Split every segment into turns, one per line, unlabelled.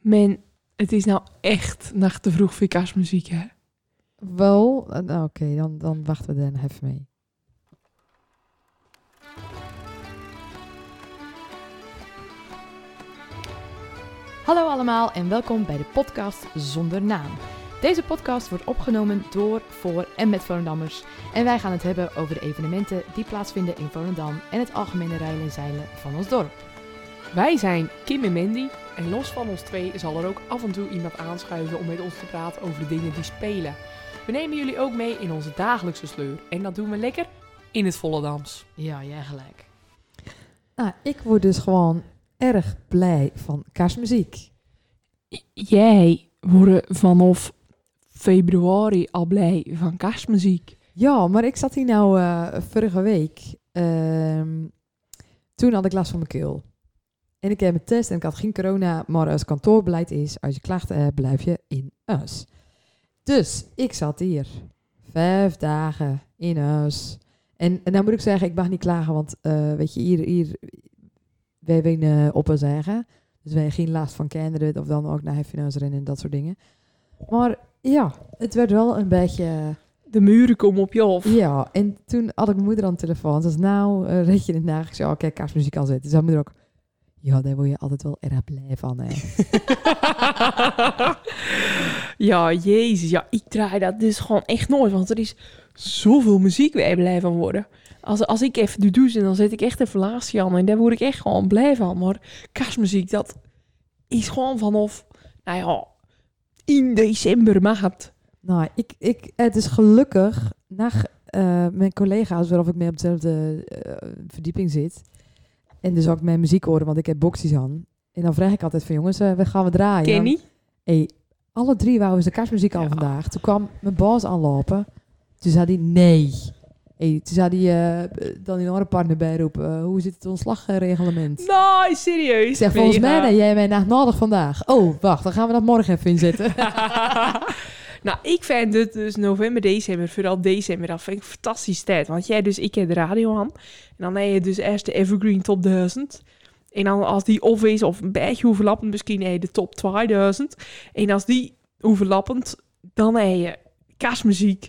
Men, het is nou echt naar te vroeg voor kerstmuziek, hè?
Wel, eh, nou, oké, dan, dan wachten we dan even mee. Hallo allemaal en welkom bij de podcast Zonder Naam. Deze podcast wordt opgenomen door, voor en met Volendammers. En wij gaan het hebben over de evenementen die plaatsvinden in Volendam en het algemene rijden en zeilen van ons dorp.
Wij zijn Kim en Mandy. En los van ons twee zal er ook af en toe iemand aanschuiven om met ons te praten over de dingen die spelen. We nemen jullie ook mee in onze dagelijkse sleur. En dat doen we lekker in het Volendams.
Ja, jij gelijk.
Nou, ik word dus gewoon erg blij van kerstmuziek.
Jij wordt vanaf februari al blij van kerstmuziek.
Ja, maar ik zat hier nou eh, vorige week. ehm, toen had ik last van mijn keel. En ik heb mijn test en ik had geen corona. Maar als kantoorbeleid is, als je klachten hebt, blijf je in huis. Dus ik zat hier. Vijf dagen in huis. En, en dan moet ik zeggen, ik mag niet klagen. Want eh, weet je, hier, hier wij wenen op en zeggen. Dus wij hebben geen last van kinderen. Of dan ook naar huis rennen en dat soort dingen. Maar ja, het werd wel een beetje...
De muren komen op je af.
Ja, en toen had ik mijn moeder aan de telefoon. Ze zei, nou, eh, red je het na? Ik zei, oh, kijk, kaarsmuziek al zitten. Dus mijn moeder ook, ja, daar word je altijd wel erg blij van, hè.
ja, jezus. Ja, ik draai dat dus gewoon echt nooit. Want er is zoveel muziek waar ik blij van worden. Als, als ik even de douche en dan zet ik echt even laagstje aan. En daar word ik echt gewoon blij van. Maar kerstmuziek, dat is gewoon vanaf... Nou ja, in december maand.
Nou, ik, ik, het is gelukkig, na eh, mijn collega's, waarop ik mee op dezelfde eh, verdieping zit, en dus ook mijn muziek horen, want ik heb boxjes aan. En dan vraag ik altijd van, jongens, we gaan we draaien?
Kenny?
Hey, alle drie wouden ze kerstmuziek al
Ja.
vandaag. Toen kwam mijn baas aanlopen. Toen zei hij nee. Hey, toen zei hij eh dan die andere partner bijroepen. eh, hoe zit het ontslagreglement?
Nee, serieus.
Ik zeg, volgens mij ben jij mij nacht nodig vandaag. Oh, wacht, dan gaan we dat morgen even inzetten.
nou, ik vind het dus november, december, vooral december, dat vind ik een fantastische tijd. Want jij dus, ik heb de radio aan. En dan heb je dus eerst de Evergreen Top 1000. En dan als die of is, of een beetje overlappend, misschien heb je de Top 2000. En als die overlappend, dan heb je kerstmuziek.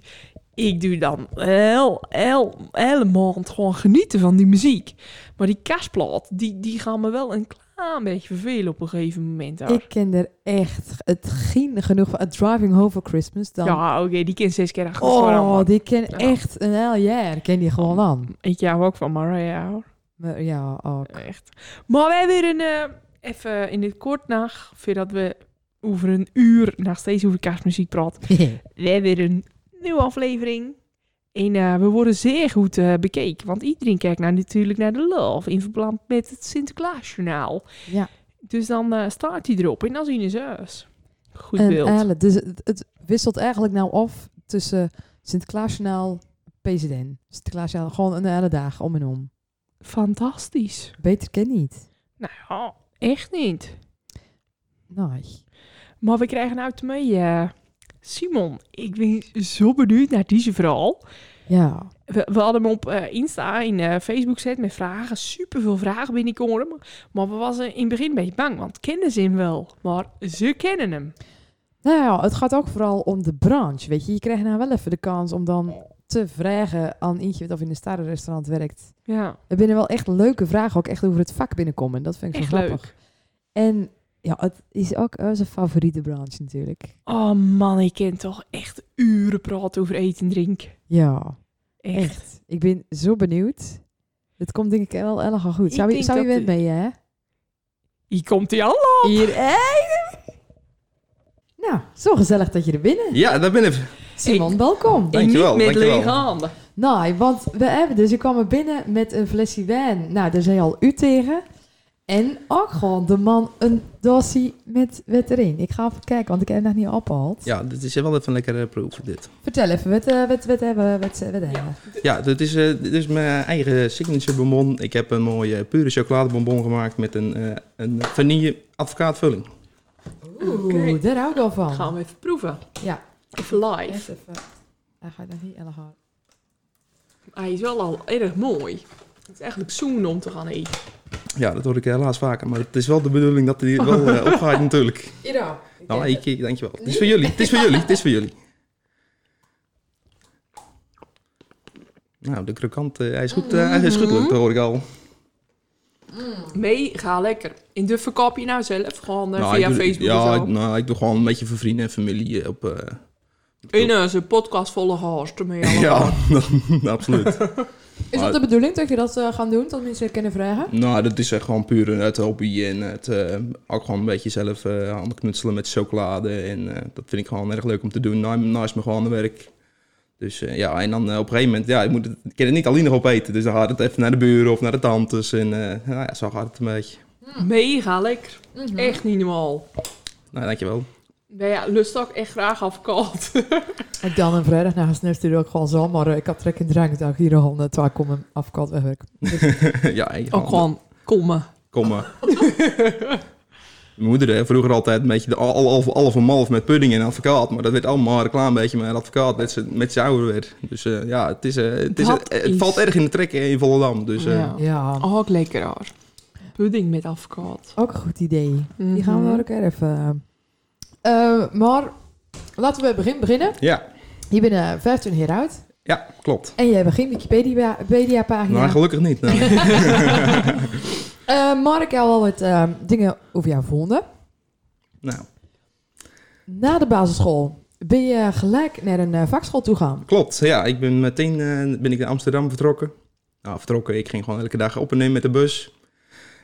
Ik doe dan heel, heel, hele maand gewoon genieten van die muziek. Maar die kerstplaat, die, die gaan me wel een klein beetje vervelen op een gegeven moment. hoor.
ik ken er echt het geen genoeg van. Het Driving Home for Christmas dan.
Ja, oké, die kind zes keer achter elkaar.
oh, die ken
Ja.
echt een heel jaar. Ken die gewoon aan.
Ik jou ook van Mariah, hoor.
Maar ja, oh. ook.
Echt. Maar wij weer een, eh, even in het kort nog, voordat we over een uur nog steeds over kerstmuziek praten. We hebben weer een nieuwe aflevering. En eh, we worden zeer goed eh, bekeken, want iedereen kijkt nou natuurlijk naar de love in verband met het Sinterklaasjournaal.
ja.
Dus dan eh, staat hij erop en dan zien ze us. Goed
En
beeld.
eigenlijk, dus het, het wisselt eigenlijk nou af tussen Sinterklaasjournaal, PZN. Sinterklaasjournaal, gewoon een hele dag om en om.
Fantastisch.
Beter ken niet.
Nou ja, echt niet.
Nee.
Maar we krijgen nou te mee. eh, Simon, ik ben zo benieuwd naar deze verhaal.
Ja.
We, we hadden hem op eh, Insta en eh, Facebook gezet met vragen. Super veel vragen binnenkomen. Maar, maar we waren in het begin een beetje bang, want kennen ze hem wel. Maar ze kennen hem.
Nou ja, het gaat ook vooral om de branche, weet je. Je krijgt nou wel even de kans om dan te vragen aan eentje wat of in een sterrenrestaurant werkt.
Ja,
Er binnen wel echt leuke vragen, ook echt over het vak binnenkomen. Dat vind ik zo
echt
grappig.
leuk.
En ja, het is ook onze favoriete branche natuurlijk.
Oh man, ik ken toch echt uren praten over eten en drinken.
Ja.
Echt.
Echt. Ik ben zo benieuwd. Het komt denk ik wel erg al goed.
Ik
Zou je,
denk
zou je
dat
met
de-
mee, hè?
Hier komt hij al.
Hier, hè? Nou, zo gezellig dat je er binnen.
Ja, daar ben ik.
Simon, welkom.
En niet
Dankjewel,
met
dankjewel.
lege handen.
Nou, want we hebben dus, ik kwam er binnen met een flesje wijn. Nou, daar zei al u tegen. En ook gewoon de man een dossier met wet erin. Ik ga even kijken, want ik heb het nog niet opgehaald.
Ja, dit is wel even een lekkere proef, dit.
Vertel even, wat, eh, wat, wat hebben we? Wat, eh, wat hebben we?
Ja, dit is, eh, dit is mijn eigen signature bonbon. Ik heb een mooie eh, pure chocoladebonbon gemaakt met een, eh, een vanille advocaatvulling.
Oeh,
Oké.
daar hou ik al van.
Gaan we even proeven.
Ja,
Even live.
echt even. Hij gaat nog niet erg hard.
Hij is wel al erg mooi. Het is eigenlijk zoen om te gaan eten.
Ja, dat hoor ik eh, helaas vaker. Maar het is wel de bedoeling dat die wel eh, opgaat natuurlijk.
Ida.
Nou, één keer, dankjewel. Het is voor jullie, het is voor jullie, het is voor jullie. Nou, de krokant, eh, hij is goed, eh, hij is goed
Mm-hmm.
lukt, hoor ik al.
Mega lekker. In de verkoop je nou zelf gewoon eh,
Nou,
via
ik doe,
Facebook
Ja,
of
ik-
zo.
nou, ik doe gewoon een beetje voor vrienden en familie op... eh,
In onze podcast volle haast ermee allemaal.
ja, absoluut.
Is dat de bedoeling dat je dat eh gaan doen? Dat mensen kunnen vragen?
Nou, dat is echt gewoon puur uit hobby en het, eh, ook gewoon een beetje zelf eh handen knutselen met chocolade. En eh, dat vind ik gewoon erg leuk om te doen. Na- Naast me gewoon werk. Dus eh, ja, en dan eh, op een gegeven moment, ja, ik, moet het, ik kan het niet alleen nog opeten. Dus dan gaat het even naar de buren of naar de tantes. En eh, nou ja, zo gaat het een beetje.
Mega lekker. Echt niet normaal.
Nou, dankjewel.
Ben ja, lust ook echt graag afkalt.
Ik dan een vrijdag na gesnurft ook gewoon zo, maar eh, ik had trek in drank. Ik dacht hier al, eh, twaalf kom hem afkant wegwerken.
ja, ik-
ook gewoon komen.
Kom maar. Mijn moeder hè, vroeger altijd een beetje de al, al, al van malf met pudding en advocaat. Maar dat werd allemaal een reclame beetje met een advocaat met z'n- met zijn ouder werd. Dus eh, ja, het, is, eh, het, is,
Dat
eh, het
is-
valt erg in de trek in Volendam. Dus eh,
Ja.
Ja,
Ook lekker hoor. Pudding met afkalt.
ook een goed idee. Die gaan we naar elkaar even. Eh, maar laten we bij het begin beginnen.
ja,
Je bent eh, 15 jaar oud
ja, klopt.
en je hebt geen Wikipedia-
Oh,
Wikipedia-pagina.
Maar gelukkig niet. nou. nee.
Eh, maar ik heb al wat eh, dingen over jou gevonden.
nou,
Na de basisschool ben je gelijk naar een eh, vakschool toegaan.
klopt. Ja, ik ben meteen eh, ben ik naar Amsterdam vertrokken. Nou, vertrokken. Ik ging gewoon elke dag op en neer met de bus.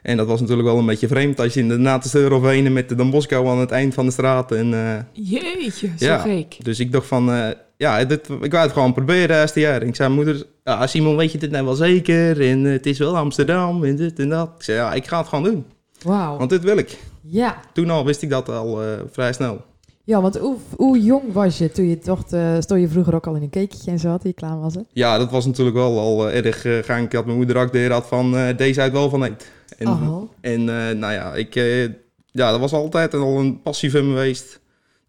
En dat was natuurlijk wel een beetje vreemd als je in de natenste euro heen met de Dan Bosco aan het eind van de straat. En eh,
Jeetje, zo
Ja.
gek.
Dus ik dacht van, eh, ja, dit, ik wou het gewoon proberen het eerste jaar. En ik zei, moeder, ja, Simon, weet je dit nou wel zeker? En eh, het is wel Amsterdam en dit en dat. Ik zei, ja, ik ga het gewoon doen,
Wauw.
want dit wil ik.
Ja.
Toen al wist ik dat al eh, vrij snel.
ja, want hoe, hoe jong was je toen je toch... eh stond je vroeger ook al in een keekje en zo had die je klaar was? Hè?
Ja, dat was natuurlijk wel al eh, erg eh gaang. Ik had mijn moeder ook de had van, eh, deze uit wel van eet. En,
Oh.
en eh, nou ja, ik, eh, ja, dat was altijd al een passie van me geweest.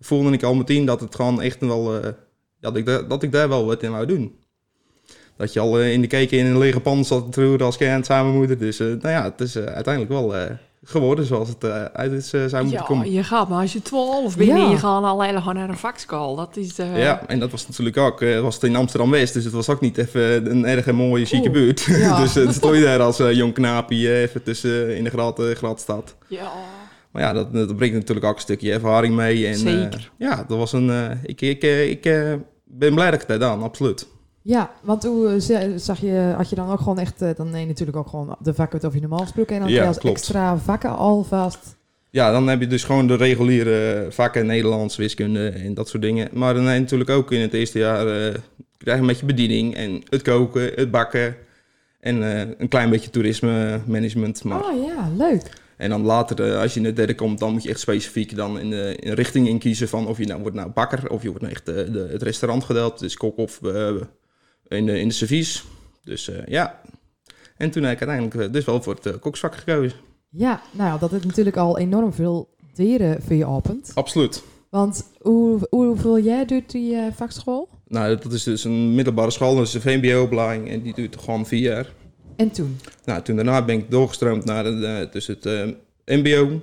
Voelde ik al meteen dat het gewoon echt wel, eh, dat, ik daar- dat ik daar wel wat in wou doen. Dat je al eh, in de keken in een lege pan zat te roeren als kind samen moeder. Dus eh, nou ja, het is eh, uiteindelijk wel eh, geworden zoals het eh, uit is, eh, zou moeten
Ja,
komen.
je gaat maar als je 12 bent
Ja.
en je gaat al helemaal gewoon naar een vakschool. Dat is... eh,
Ja, en dat was natuurlijk ook, eh, was het in Amsterdam-West, dus het was ook niet even een erg mooie, chique
Oeh,
buurt.
ja.
dus eh, dan stond je daar als eh, jong knaapje eh, even tussen in de grad, eh, gladstad.
ja.
Maar ja, dat, dat brengt natuurlijk ook een stukje ervaring mee. En, eh,
Zeker.
ja, dat was een, eh, ik, ik, eh, ik eh, ben blij dat ik het heb gedaan, absoluut.
Ja, want hoe eh, ze- zag je, had je dan ook gewoon echt, eh, dan neem je natuurlijk ook gewoon de vakken of je normaal gesproken en dan
Ja,
had je als
klopt.
extra vakken alvast.
Ja, dan heb je dus gewoon de reguliere vakken, Nederlands, wiskunde en dat soort dingen. Maar dan heb je natuurlijk ook in het eerste jaar eh, krijg je een beetje bediening en het koken, het bakken en eh, een klein beetje toerisme management. Maar
Oh ja, leuk.
En dan later, eh, als je in de derde komt, dan moet je echt specifiek dan in de in richting in kiezen van of je nou wordt nou bakker of je wordt nou echt eh, de, het restaurant gedeeld, dus kok of eh, in, de, in de service. Dus eh, ja. En toen heb ik uiteindelijk eh, dus wel voor het eh, koksvak gekozen.
Ja, nou ja, dat het natuurlijk al enorm veel deren voor je opent.
Absoluut.
Want hoe, hoeveel jij doet die eh, vakschool?
Nou, dat is dus een middelbare school, dus een VMBO-opleiding en die duurt gewoon vier jaar.
En toen?
Nou, toen daarna ben ik doorgestroomd naar de, de- dus het eh, MBO.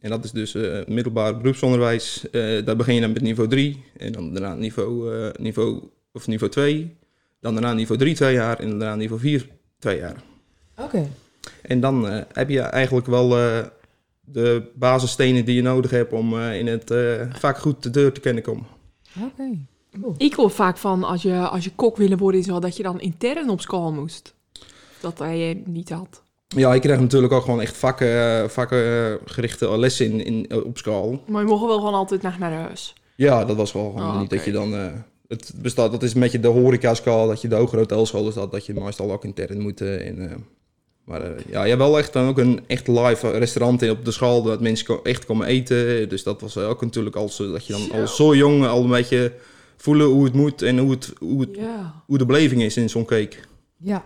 En dat is dus eh, middelbaar beroepsonderwijs. Eh, daar begin je dan met niveau 3. En dan daarna niveau, eh, niveau, of niveau 2. Dan daarna niveau 3 twee jaar. En daarna niveau 4 twee jaar.
Oké.
En dan eh, heb je eigenlijk wel eh, de basisstenen die je nodig hebt om eh, in het eh, vak goed de deur te kennen komen.
Oké. Cool.
Ik hoor vaak van als je, als je kok willen worden, is wel dat je dan intern op school moest. Dat hij je niet had.
Ja, ik krijg natuurlijk ook gewoon echt vakken, vakkengerichte lessen in, in, op school.
Maar je mocht wel gewoon altijd naar, naar huis.
Ja, dat was wel gewoon
Ah,
Oh,
niet dat
oké.
je dan... eh, het bestaat, dat is met je de horecaschool, dat je de hogere hotelschool is dat, dat je meestal ook intern moet. eh, en, eh, maar eh, ja, je hebt wel echt dan ook een echt live eh, restaurant in op de school, dat mensen ko- echt komen eten. Dus dat was ook natuurlijk als, eh, dat je dan al zo jong al een beetje voelen hoe het moet en hoe, het, hoe, het,
Ja.
hoe de beleving is in zo'n cake.
Ja.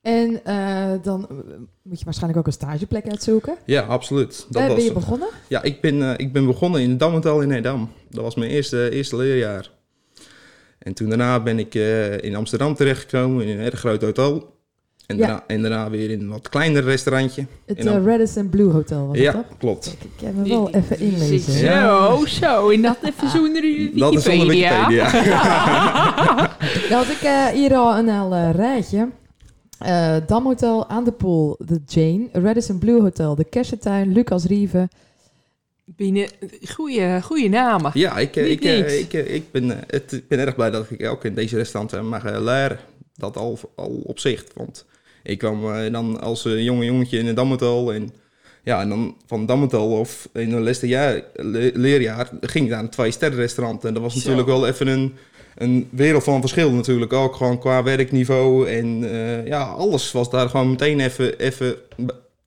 En eh, dan eh, moet je waarschijnlijk ook een stageplek uitzoeken.
Ja, absoluut. Dat
Daar
was
ben je
het.
begonnen?
Ja, ik ben, eh, ik ben begonnen in Dammental in Edam. Dat was mijn eerste, eerste leerjaar. En toen daarna ben ik eh, in Amsterdam terechtgekomen in een erg groot hotel. En,
Ja.
daarna, en daarna weer in een wat kleiner restaurantje.
Het
En dan-
eh, Radisson Blue Hotel was
ja,
dat?
klopt.
Ik heb me wel even inlezen.
Zo, zo. En dat even zonder Wikipedia.
Dat is zonder Wikipedia.
Nou, had ik eh, hier al een heel eh, rijtje. Eh Dam Hotel, Aan de Pool, The Jane, Radisson Blue Hotel, De Kersentuin, Lucas Rieven.
Binnen, goeie, goeie namen.
Ja, ik, eh,
Niet
ik, eh,
niks.
ik, eh, ik, ben, eh, het, ik ben erg blij dat ik ook in deze restaurant eh, mag eh, leren. Dat al, al op zich. Want ik kwam eh, dan als eh, jonge jongetje in een dammetal. En, ja, en dan van dammetal of in het laatste jaar, le- leerjaar ging ik naar een twee sterren restaurant. En dat was
Zo.
natuurlijk wel even een, een wereld van verschil natuurlijk. Ook gewoon qua werkniveau en eh, ja, alles was daar gewoon meteen even, even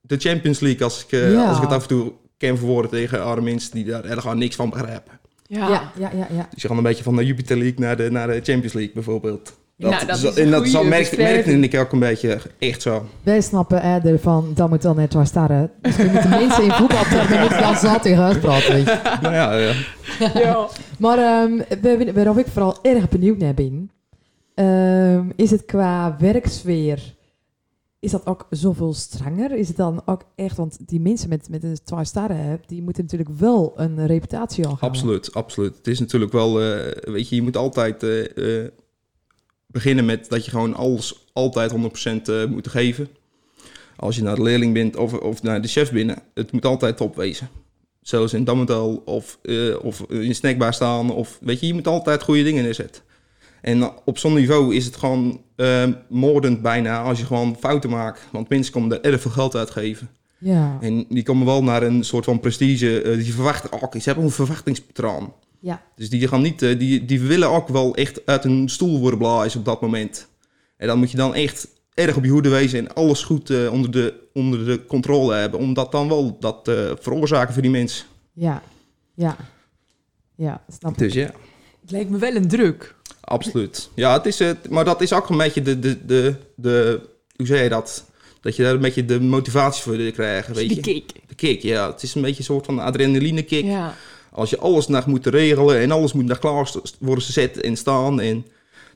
de Champions League. Als ik, eh,
Ja.
als ik het af en toe kan verwoorden tegen Armin's die daar erg gewoon niks van begrijpen.
Ja.
Ja, ja, ja, ja.
Dus je gaat een beetje van de Jupiter League naar de, naar de Champions League bijvoorbeeld.
Nou, dat is een
en dat
goeie
zal merk,
beschrijving.
merkte ik ook een beetje echt zo.
Wij snappen eerder van Dam Hotel net waar starren. Dus we moeten mensen in voetbaltermen niet dan zat in huis praten. weet je.
nou ja, ja.
Ja.
Maar ehm, waar- waarop ik vooral erg benieuwd naar ben, ehm, is het qua werksfeer, is dat ook zoveel strenger? Is het dan ook echt, want die mensen met, met een twee starren, die moeten natuurlijk wel een reputatie al gaan.
absoluut, absoluut. Het is natuurlijk wel, eh, weet je, je moet altijd eh, eh, beginnen met dat je gewoon alles altijd 100% eh, moet geven. Als je naar de leerling bent of, of naar de chef binnen, het moet altijd top wezen. Zelfs in Dammetal of, eh, of in een snackbar staan. Of, weet je, je moet altijd goede dingen neerzetten. En op zo'n niveau is het gewoon eh, moordend bijna als je gewoon fouten maakt. Want mensen komen er erg veel geld uitgeven.
Ja.
En die komen wel naar een soort van prestige. eh, die verwachten ook, ze hebben een verwachtingspatroon.
Ja.
Dus die gaan niet, eh, die, die willen ook wel echt uit hun stoel worden blazen op dat moment. En dan moet je dan echt erg op je hoede wezen en alles goed eh, onder, de, onder de controle hebben. Omdat dan wel dat eh, veroorzaken voor die mensen.
Ja, ja. Ja, snap ik.
Dus ja,
Het lijkt me wel een druk.
absoluut. Ja, het is, het maar dat is ook een beetje de, de, de, de, hoe zeg je dat? Dat je daar een beetje de motivatie voor wil krijgen, weet
Die
je.
kick.
De kick, ja. Het is een beetje een soort van adrenaline kick.
Ja.
Als je alles nog moet regelen en alles moet naar klaar st- worden gezet en staan. En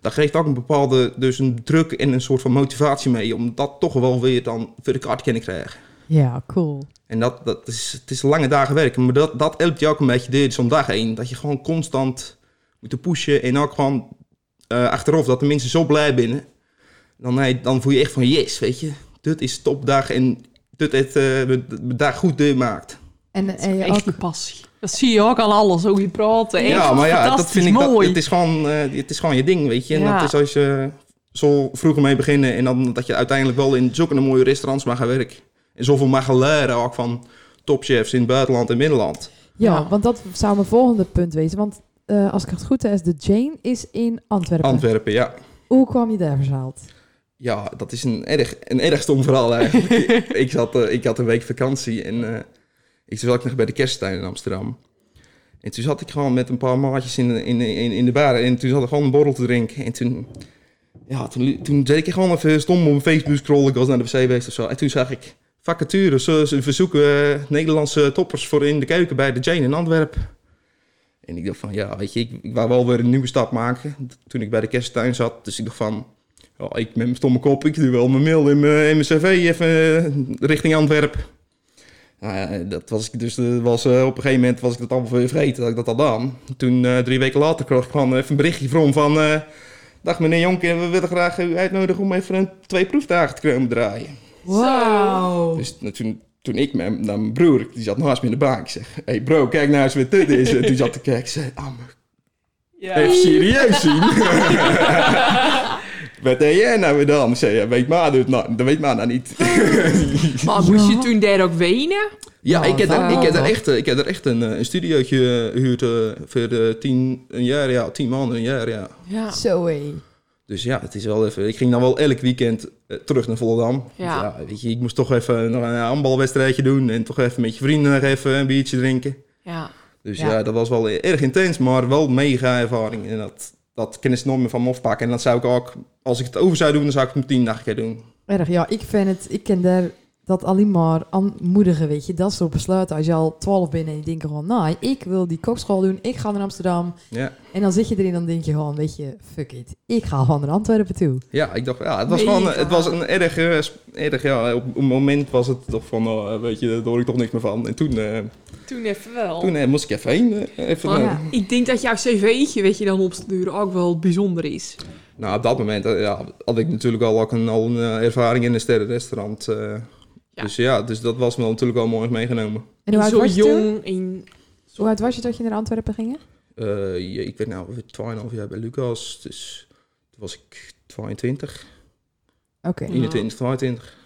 dat geeft ook een bepaalde dus een druk en een soort van motivatie mee. Om dat toch wel weer dan voor de kaart te kunnen krijgen.
Ja, cool.
En dat, dat is, het is lange dagen werken. Maar dat, dat helpt je ook een beetje door zo'n dag heen. Dat je gewoon constant moet pushen. En ook gewoon eh, achteraf dat de mensen zo blij binnen. Dan, hey, dan voel je echt van yes, weet je. Dit is topdag en dit het eh, daar goed door maakt.
En, en je
Echt
ook,
die passie. Dat zie je ook aan alles, hoe je praat. Echt
ja, maar ja, dat
fantastisch
vind ik dat-
mooi.
het, is gewoon, eh, het is gewoon je ding, weet je. En
Ja.
dat is als je zo vroeg mee beginnen en dan dat je uiteindelijk wel in zulke mooie restaurants mag gaan werken. En zoveel mag gaan leren ook van topchefs in het buitenland en binnenland.
ja,
Ja.
want dat zou mijn volgende punt wezen. Want eh, als ik het goed heb, de Jane is in Antwerpen.
Antwerpen, ja.
Hoe kwam je daar verzaald?
Ja, dat is een erg, een erg stom verhaal eigenlijk. ik, ik zat, eh, ik had een week vakantie en eh, ik zat nog bij de kersttuin in Amsterdam. En toen zat ik gewoon met een paar maatjes in, de- in, in, in de bar en toen zat ik gewoon een borrel te drinken. En toen, ja, toen, li- toen deed ik gewoon even stom op mijn Facebook scrollen. Ik was naar de wc geweest of zo. En toen zag ik vacatures, ze, ze verzoeken eh, Nederlandse toppers voor in de keuken bij de Jane in Antwerpen. En ik dacht van, ja, weet je, ik, ik wou wel weer een nieuwe stap maken toen ik bij de kersttuin zat. Dus ik dacht van, ja, ik met mijn stomme kop, ik doe wel mijn mail in mijn, in mijn cv even eh, richting Antwerpen. Nou ja, dat was ik dus, eh, was, eh, op een gegeven moment was ik dat allemaal weer vergeten dat ik dat al gedaan. Toen eh, drie weken later kreeg ik gewoon even een berichtje van van... eh, Dag meneer Jonker, we willen graag u uitnodigen om even een, twee proefdagen te komen draaien.
Wauw.
Dus nou, toen, toen ik met, naar mijn broer, die zat naast me in de bank, ik zeg... Hé hey bro, kijk nou eens wat dit is. En toen zat te kijken, ik zei... "Ah, maar
Ja.
Even serieus zien. Wat deed jij nou weer dan? Ik Zei, ja, weet maar, dat, nou, dat weet maar nou niet.
Maar moest je toen daar ook wenen?
ja, ik heb, er,
verhaal
ik, heb er
toch?
echt, eh, ik heb er echt een, eh, een studiootje eh, gehuurd eh, voor eh, tien, een jaar, ja, tien maanden, een jaar, ja.
Ja.
Zo hé.
Dus ja, het is wel even. Ik ging dan wel elk weekend eh, terug naar Volendam. Want
Ja.
Ja. weet je, ik moest toch even nog een handbalwedstrijdje doen en toch even met je vrienden nog even een biertje drinken.
Ja.
Dus
Ja.
ja, dat was wel erg intens, maar wel mega ervaring. En dat, dat kennis nooit meer van me afpakken. En dat zou ik ook, als ik het over zou doen, dan zou ik het meteen nacht keer doen.
Erg, ja. Ik vind het, ik ken daar dat alleen maar aanmoedigen, weet je. Dat soort besluiten. Als je al twaalf bent en je denkt gewoon, nou, ik wil die kokschool doen. Ik ga naar Amsterdam.
Ja.
En dan zit je erin, dan denk je gewoon, weet je, fuck it. Ik ga gewoon naar Antwerpen toe.
Ja, ik dacht, ja, het was
Nee,
gewoon,
ja.
het was een erg, eh, sp- erg ja, op een moment was het toch van, oh, eh, weet je, daar hoor ik toch niks meer van. En toen, eh,
Toen even wel.
toen eh, moest ik even heen. eh, even,
Maar
eh,
Oh, ja.
Ik denk dat jouw cv'tje, weet je, dan opsturen ook wel bijzonder is.
Nou, op dat moment eh, ja, had ik natuurlijk al, ook een, al een eh, ervaring in een sterrenrestaurant. eh.
Ja.
Dus ja, dus dat was me dan natuurlijk wel mooi meegenomen.
En hoe oud
zo
was je toen?
jong en
Hoe oud was je dat je naar Antwerpen ging?
Eh, je- ik ben nou weer 2,5 jaar bij Lucas, dus toen was ik 22,
Oké.
Ja.
21, 22.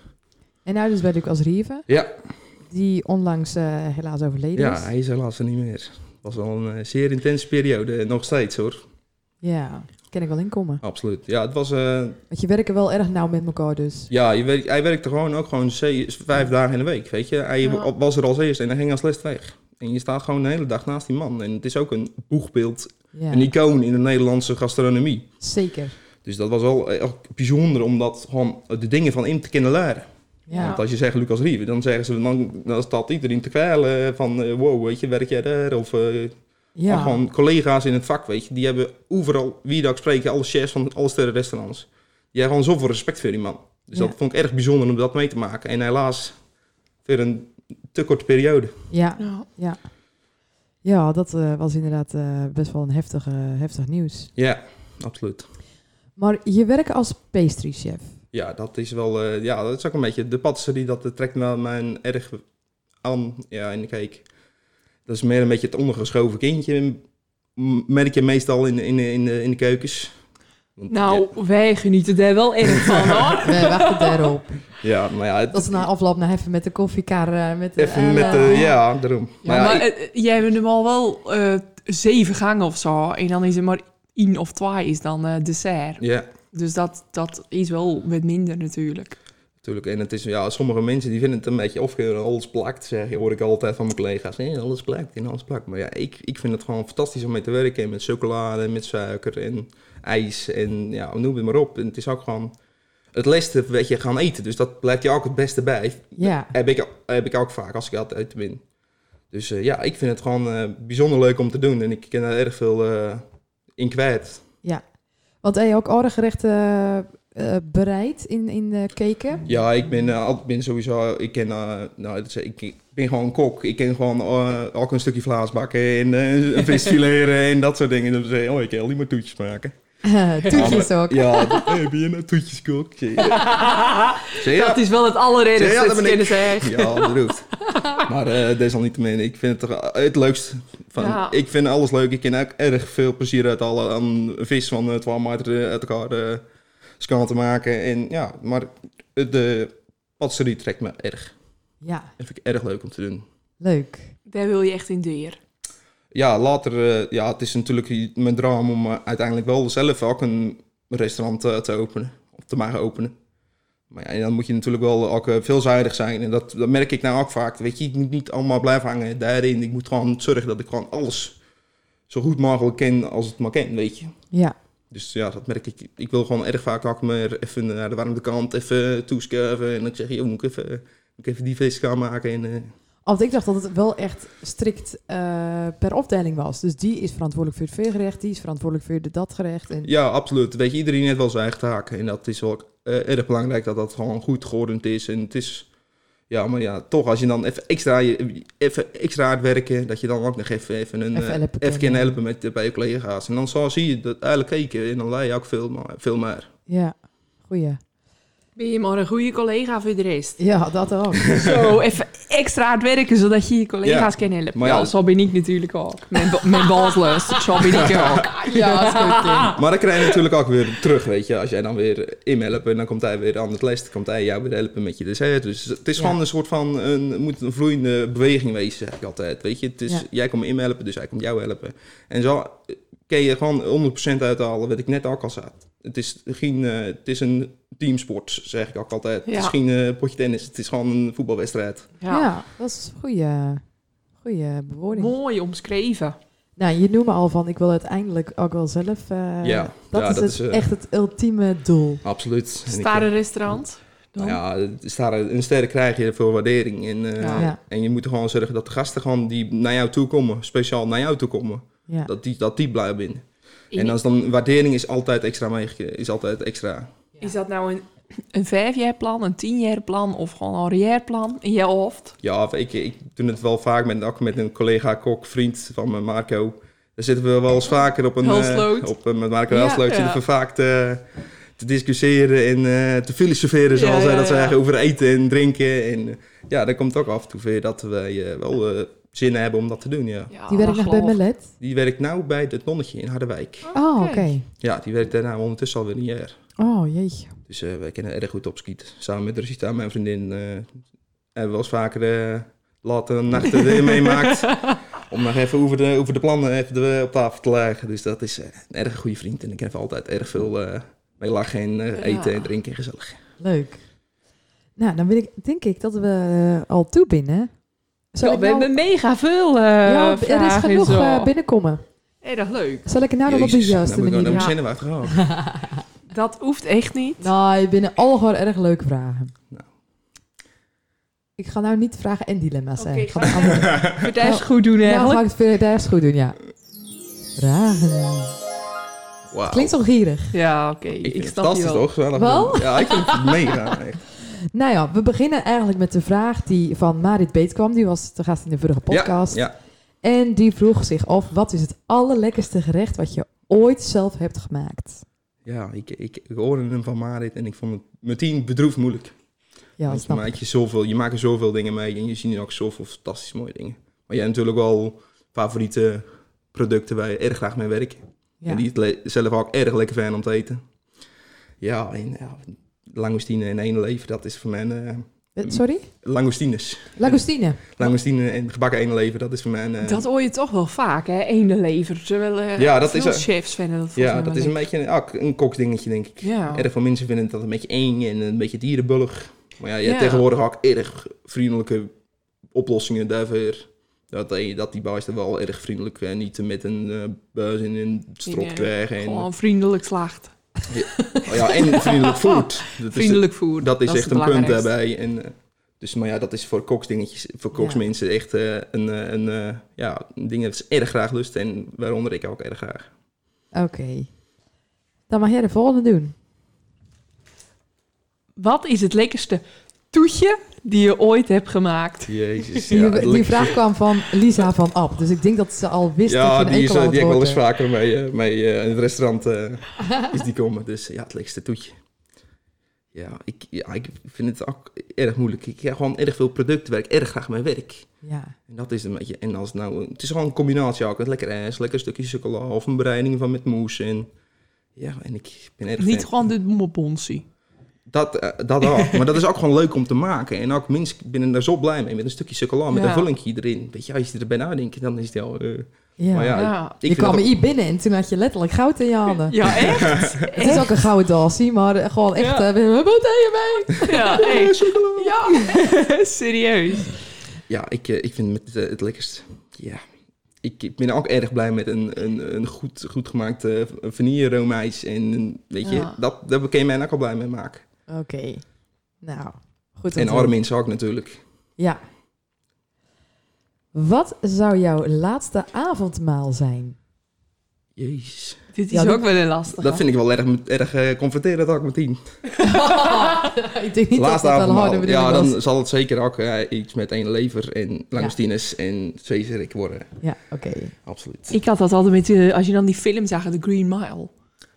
En nou dus ben ik als Rieven,
Ja,
die onlangs eh, helaas overleden
ja
is.
hij is helaas er niet meer. Het was wel een eh, zeer intense periode, nog steeds hoor.
Ja, kan ik wel inkomen.
Absoluut. Ja, het was, eh,
Want je werken wel erg nauw met elkaar dus.
Ja, je werkt, hij werkte gewoon ook gewoon ze- vijf dagen in de week, weet je. Hij
Ja.
was er als eerst en hij ging als les weg. En je staat gewoon de hele dag naast die man. En het is ook een boegbeeld,
Ja,
een icoon in de Nederlandse gastronomie.
zeker.
Dus dat was wel eh, ook bijzonder om dat gewoon de dingen van hem te kunnen leren.
Ja.
Want als je zegt Lucas Rieven, dan zeggen ze, dan, dan staat iedereen te kwijlen van eh, wow, weet je, werk jij daar? Of eh, maar
Ja.
gewoon collega's in het vak, weet je. Die hebben overal, wie dat ik spreek, alle chefs van alle sterrenrestaurants. Die hebben gewoon zoveel respect voor die man. Dus
Ja.
dat vond ik erg bijzonder om dat mee te maken. En helaas, weer een te korte periode.
ja.
Ja.
Ja, dat eh, was inderdaad eh, best wel een heftig, eh, heftig nieuws.
Ja, absoluut.
Maar je werkt als pastrychef.
Ja, dat is wel, eh, ja, dat is ook een beetje de patisserie, dat eh, trekt me mijn erg aan. Ja, en kijk, dat is meer een beetje het ondergeschoven kindje, m- merk je meestal in, de- in, de- in, de, in de keukens. Want,
Nou, wij genieten daar wel erg van, hoor.
We wachten daarop.
Ja, ja, maar ja, het-
Dat ze na afloop nog even met de koffiekar... eh, met de,
even
eh,
met, de ja, daarom.
Ja,
ja,
maar
ik-
eh, eh, jij hebt hem al wel eh, zeven gangen of zo. En dan is er maar één of twee is dan eh, dessert.
ja.
Dus dat, dat is wel wat minder natuurlijk.
Natuurlijk, en het is, ja, sommige mensen die vinden het een beetje of je alles plakt, zeg je, hoor ik altijd van mijn collega's, hè, alles plakt en alles plakt. Maar ja, ik, ik vind het gewoon fantastisch om mee te werken, en met chocolade, en met suiker en ijs en ja, noem het maar op. En het is ook gewoon het leste wat je gaan eten, dus dat blijft je ook het beste bij.
Ja,
Heb ik, heb ik ook vaak als ik altijd uit ben. Dus eh, ja, ik vind het gewoon eh, bijzonder leuk om te doen en ik ken er erg veel eh, in kwijt.
want heb je ook oude gerechten eh, eh, bereid in, in de keken?
Ja, ik ben, eh, altijd- ben sowieso, ik ken, eh, nou, dat is- ik, ik ben gewoon kok. Ik ken gewoon eh, ook een stukje vlaas bakken en eh, een vis fileren en dat soort dingen. Dan zei ik, oh, ik kan alleen maar toetjes maken.
Toetjes ook.
Ja, d- hey, ben je nou toetjeskok? Ik zei, Ja, Ik zei, ja,
Dat is wel het allerergste
Ja,
ja,
dat
dat ze
ben ik.
kunnen zeggen.
ja, dat doet. Maar eh, desalniettemin, ik vind het toch het leukst. Van,
Ja.
Ik vind alles leuk. Ik ken ook erg veel plezier uit alle aan vis van eh, 12 meter eh, uit elkaar eh scan te maken. En ja, maar de patisserie trekt me erg.
Ja,
Dat vind ik erg leuk om te doen.
leuk.
Daar wil je echt in deur.
Ja, later, eh, ja, het is natuurlijk mijn droom om eh, uiteindelijk wel zelf ook een restaurant eh, te openen. Of te mogen openen. Maar ja, en dan moet je natuurlijk wel ook eh, veelzijdig zijn. En dat, dat merk ik nou ook vaak. Weet je, ik moet niet allemaal blijven hangen daarin. Ik moet gewoon zorgen dat ik gewoon alles zo goed mogelijk ken als het maar ken, weet je.
Ja,
Dus ja, dat merk ik. Ik wil gewoon erg vaak ook meer even naar de warme kant, even toeschuiven. En dan zeg je, joh, moet ik even, moet ik even die vis gaan maken. En, eh,
want ik dacht dat het wel echt strikt eh, per opdeling was. Dus die is verantwoordelijk voor het veergerecht, die is verantwoordelijk voor de datgerecht. En...
Ja, absoluut. Weet je, iedereen heeft wel zijn eigen taak. En dat is wel eh, erg belangrijk dat dat gewoon goed geordend is. En het is, ja, maar ja, toch als je dan even extra, je- even extra hard werken, dat je dan ook nog even, even een...
Even
eh,
helpen
Even kunnen
kunnen.
helpen met, eh, bij je collega's. En dan zo zie je dat eigenlijk keken en dan leer je ook veel, maar- veel meer.
Ja, goeie.
Ben je maar een goede collega voor de rest.
Ja, dat ook.
Zo, even extra hard werken, zodat je je collega's
Ja.
kan helpen.
Maar
Maar
ja,
ja, zo ben ik natuurlijk ook. Mijn, ba- mijn baas zo ben ik ook.
ja, dat is goed. Kim.
Maar dan krijg je natuurlijk ook weer terug, weet je. Als jij dan weer in helpen, dan komt hij weer aan het les. Dan komt hij jou weer helpen met je dessert. Dus het is
Ja.
gewoon een soort van, een, het moet een vloeiende beweging wezen, zeg ik altijd. Weet je, het is,
Ja.
jij komt in helpen, dus hij komt jou helpen. En zo eh, kun je gewoon 100% uithalen, wat ik net ook al zei. Het is, geen, eh, het is een teamsport, zeg ik ook altijd. Het is
Ja.
geen eh, potje tennis, het is gewoon een voetbalwedstrijd.
Ja.
Ja.
dat is een goede, goede bewoording.
Mooi omschreven.
Nou, je noemde al van, ik wil uiteindelijk ook wel zelf. eh,
Ja,
dat
ja,
is,
dat
het,
is, eh,
echt het ultieme doel.
Absoluut. En ik, eh,
Staren restaurant. Dan?
Nou ja, het is daar een sterren krijg je voor waardering. En, eh,
Ja.
Ja.
en je moet er gewoon zorgen dat de gasten gewoon die naar jou toe komen, speciaal naar jou toe komen,
Ja.
dat, die, dat die blij zijn.
Ik-
En als dan waardering is altijd extra meegekregen, is altijd extra.
Is dat nou een, een vijfjaar plan, een tienjaar plan of gewoon een jaarplan in jouw hoofd?
Ja, ik, ik doe het wel vaak met, ook met een collega kok, vriend van me, Marco. Daar zitten we wel eens vaker op een... eh,
Helsloot.
op, eh, met Marco
Ja,
Helsloot
ja.
zitten we vaak te, te discussiëren en eh, te filosoferen, zoals
Ja,
wij
ja,
dat
ja.
zeggen, over eten en drinken. En eh, ja, daar komt ook af en toe weer dat wij eh, wel eh, zin hebben om dat te doen, ja.
Ja,
Die werkt
dat
nog bij
geloof ik.
Melet.
Die werkt nou bij het nonnetje in Harderwijk.
Oh, oké.
kijk.
Ja, die werkt daarna ondertussen alweer een jaar.
Oh, jeetje.
Dus eh, wij kennen erg goed op skiet. Samen met Rosita, mijn vriendin, eh, hebben we wel eens vaker eh, late nachten erin meemaakt. Om nog even over de, over de plannen even de- op tafel te leggen. Dus dat is eh, een erg goede vriend. En ik heb altijd erg veel eh, mee lachen en eh, eten
Ja.
en drinken en gezellig.
Leuk. Nou, dan wil ik, denk ik dat we eh, al toe binnen. Zal
Ja,
ik
we
nou-
hebben mega veel eh
ja, er is
vragen en
genoeg
zo.
eh, binnenkomen.
Erg leuk.
Zal ik het nou nog op de
Jezus,
juiste
nou moet ik
manier
nou
Ja.
zinnen waar gaan.
Dat hoeft echt niet.
Nou, je binnen al gewoon erg leuke vragen.
Nou.
Ik ga nou niet vragen en dilemma's
Oké,
zijn. Ik ga
ga
de
ik-
andere-
Vertijs goed doen
nou, ga
eigenlijk.
ik het weer daar eens goed doen, ja. Vragen.
Wauw.
Klinkt zo gierig.
Ja, oké.
Ik
Ik,
vind het
snap je
fantastisch
wel.
toch? Gezellig.
Wel?
Ja, ik vind het mega. echt.
Nou ja, we beginnen eigenlijk met de vraag die van Marit Beet kwam. Die was de gast in de vorige podcast.
Ja, ja.
En die vroeg zich af, wat is het allerlekkerste gerecht wat je ooit zelf hebt gemaakt?
ja ik, ik, ik hoorde hem van Marit en ik vond het meteen bedroefd moeilijk.
Ja,
Want je,
snap ik.
maakt je, zoveel, je maakt er zoveel dingen mee en je ziet nu ook zoveel fantastisch mooie dingen. Maar jij hebt natuurlijk wel favoriete producten waar je erg graag mee werkt.
Ja.
En die het le- zelf ook erg lekker vinden om te eten. Ja, en ja, langoustine en ene leven, dat is voor mij... eh,
Eh, Sorry?
langoustines.
Lagostine.
Langoustine en gebakken ene leven, dat is voor mij... eh,
Dat hoor je toch wel vaak, hè? Ene lever. Terwijl eh,
Ja, dat is
veel
er.
chefs vinden dat volgens
ja,
mij
dat
wel
is een
leuk.
beetje een, ah, een koksdingetje, denk ik.
Ja.
Erg veel mensen vinden dat een beetje eng en een beetje dierenbullig. Maar ja, je hebt
Ja.
tegenwoordig ook erg vriendelijke oplossingen daarvoor. Dat, die- dat die baas er wel erg vriendelijk en niet met een eh buis in een strop
eh,
krijgen. En,
Gewoon vriendelijk slacht.
oh ja, en vriendelijk voert. Dat is,
Vriendelijk voer.
dat is echt
het
een punt
belangrijkste.
daarbij. En, eh, dus, maar ja, dat is voor koksdingetjes, voor
Ja.
koksmensen echt eh, een, eh, een, eh, ja, een ding dat ze erg graag lust. En waaronder ik ook erg graag.
Oké. Dan mag jij de volgende doen.
Wat is het lekkerste toetje die je ooit hebt gemaakt?
Jezus.
Die, die vraag kwam van Lisa van Ab. Dus ik denk dat ze al wist
Ja,
dat je een
die, is,
enkel
eh, die heb ik wel eens
antwoord
vaker mee, eh, mee eh, in het restaurant eh, is die komen. Dus eh, ja, het lekkerste toetje. Ja ik, ja, ik vind het ook erg moeilijk. Ik heb gewoon erg veel producten waar ik erg graag mee werk.
Ja.
En dat is een beetje... En als het nou... Het is gewoon een combinatie ook. Met lekker ijs, lekker stukje chocola of een bereiding van met moes. En, ja, en ik ben erg...
Niet
fan.
gewoon de bonbonsie.
Dat, eh, dat ook. maar dat is ook gewoon leuk om te maken. En ook mensen binnen daar zo blij mee. Met een stukje chocola, met
Ja.
een vullingje erin. Weet je, als je erbij nadenkt, dan is het al... eh,
Ja.
Maar ja, ik
Ja.
je
vind
kwam
dat ook-
hier binnen en toen had je letterlijk goud in je handen.
Ja, echt?
Het is ook een gouden dalsie, maar eh, gewoon echt...
Ja.
eh, we hebben het aan je mee.
Ja,
Eh,
echt.
chocola.
Ja, serieus.
Ja, ik, eh, ik vind het, eh, het lekkerst. Ja. Ik, ik ben ook erg blij met een, een, een goed, goed gemaakt eh, vanille roomijs. En een- weet je,
Ja.
dat, daar kan je mij ook al blij mee maken.
Oké. Nou, goed. om
en
te horen.
Armin ook natuurlijk.
Ja. Wat zou jouw laatste avondmaal zijn?
Jezus.
Dit is
Ja, dat-
ook wel een lastige.
Dat vind ik wel erg, erg eh, confronterend ook meteen.
ik denk niet
Laatste
dat dat wel
avondmaal.
harde bedoeling
Ja,
was.
dan zal het zeker ook eh, iets met één lever en langoustines en zeezerik worden.
Ja, oké.
Absoluut.
Ik had dat altijd met, eh, als je dan die film zag, de Green Mile.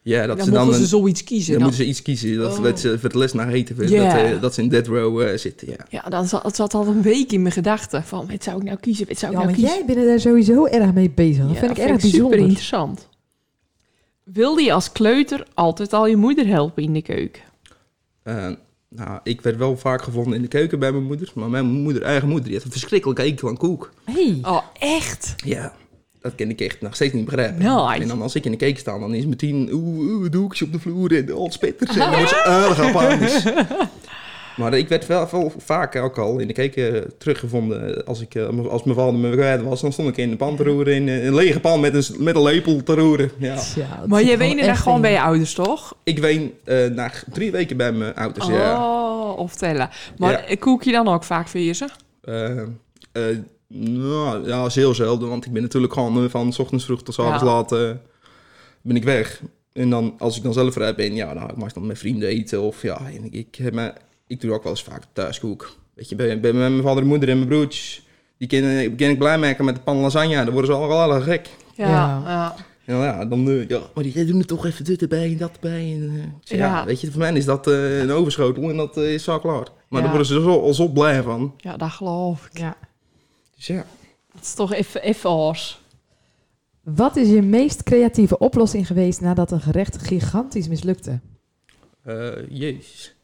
Ja, dat
dan
ze dan
mochten
een-
ze zoiets kiezen.
dan
dan.
moeten ze iets kiezen. Dat,
Oh.
dat ze voor de les naar eten. Dat,
Ja.
eh, dat ze in dead row eh, zitten, ja.
Ja, dan zat, het zat al een week in mijn gedachten. Van, wat zou ik nou kiezen? Wat zou ik
Ja,
nou
maar
kiezen?
jij bent daar sowieso erg mee bezig. Dat
Ja,
vind ik erg
super
bijzonder.
interessant. Wilde je als kleuter altijd al je moeder helpen in de keuken?
Eh, nou, ik werd wel vaak gevonden in de keuken bij mijn moeder. Maar mijn moeder, eigen moeder, die had een verschrikkelijke ekel aan koek.
Hey.
Oh, echt?
Ja, dat kan ik echt nog steeds niet begrijpen.
Nice.
En dan als ik in de keuken sta, dan is meteen oeh, oeh, doekjes op de vloer en al spitters. En dan wordt ze erg op anders. Maar ik werd wel, wel vaak ook al in de keuken teruggevonden. Als, ik, eh, als mijn vader me kwijt was, dan stond ik in de pan te roeren. In eh, een lege pan met een, s- met een lepel te roeren. Ja.
Tja, het
Maar
zit
jij weende daar
echt
gewoon
in.
bij je ouders, toch?
Ik ween eh, na drie weken bij mijn ouders. Ja.
Oh, wel of tellen. Maar
Ja.
koek je dan ook vaak voor ze?
Eh, eh, nou, ja, dat is heel zelden, want ik ben natuurlijk gewoon eh, van 's ochtends vroeg tot 's avonds
Ja.
laat eh, ben ik weg. En dan, als ik dan zelf vrij ben, ja, dan mag ik dan met vrienden eten. Of ja, en ik, ik, heb me, ik doe ook wel eens vaak thuiskoek. Weet je, ben, ben met mijn vader en moeder en mijn broertjes. Die ken, ik- ken ik blij maken met de pan lasagne. Dan worden ze allemaal wel gek.
Ja,
Ja.
ja.
En dan, ja, dan eh, ja, maar die doen er toch even dit erbij en dat erbij. En, eh, ik zeg, ja.
Ja.
weet je, voor mij is dat eh, een overschotel en dat eh, is al klaar.
Ja.
Maar daar worden ze zo, al zo blij van.
Ja, dat geloof ik.
Ja.
Dus ja.
Het is toch even, even oors.
Wat is je meest creatieve oplossing geweest nadat een gerecht gigantisch mislukte?
Eh, jezus.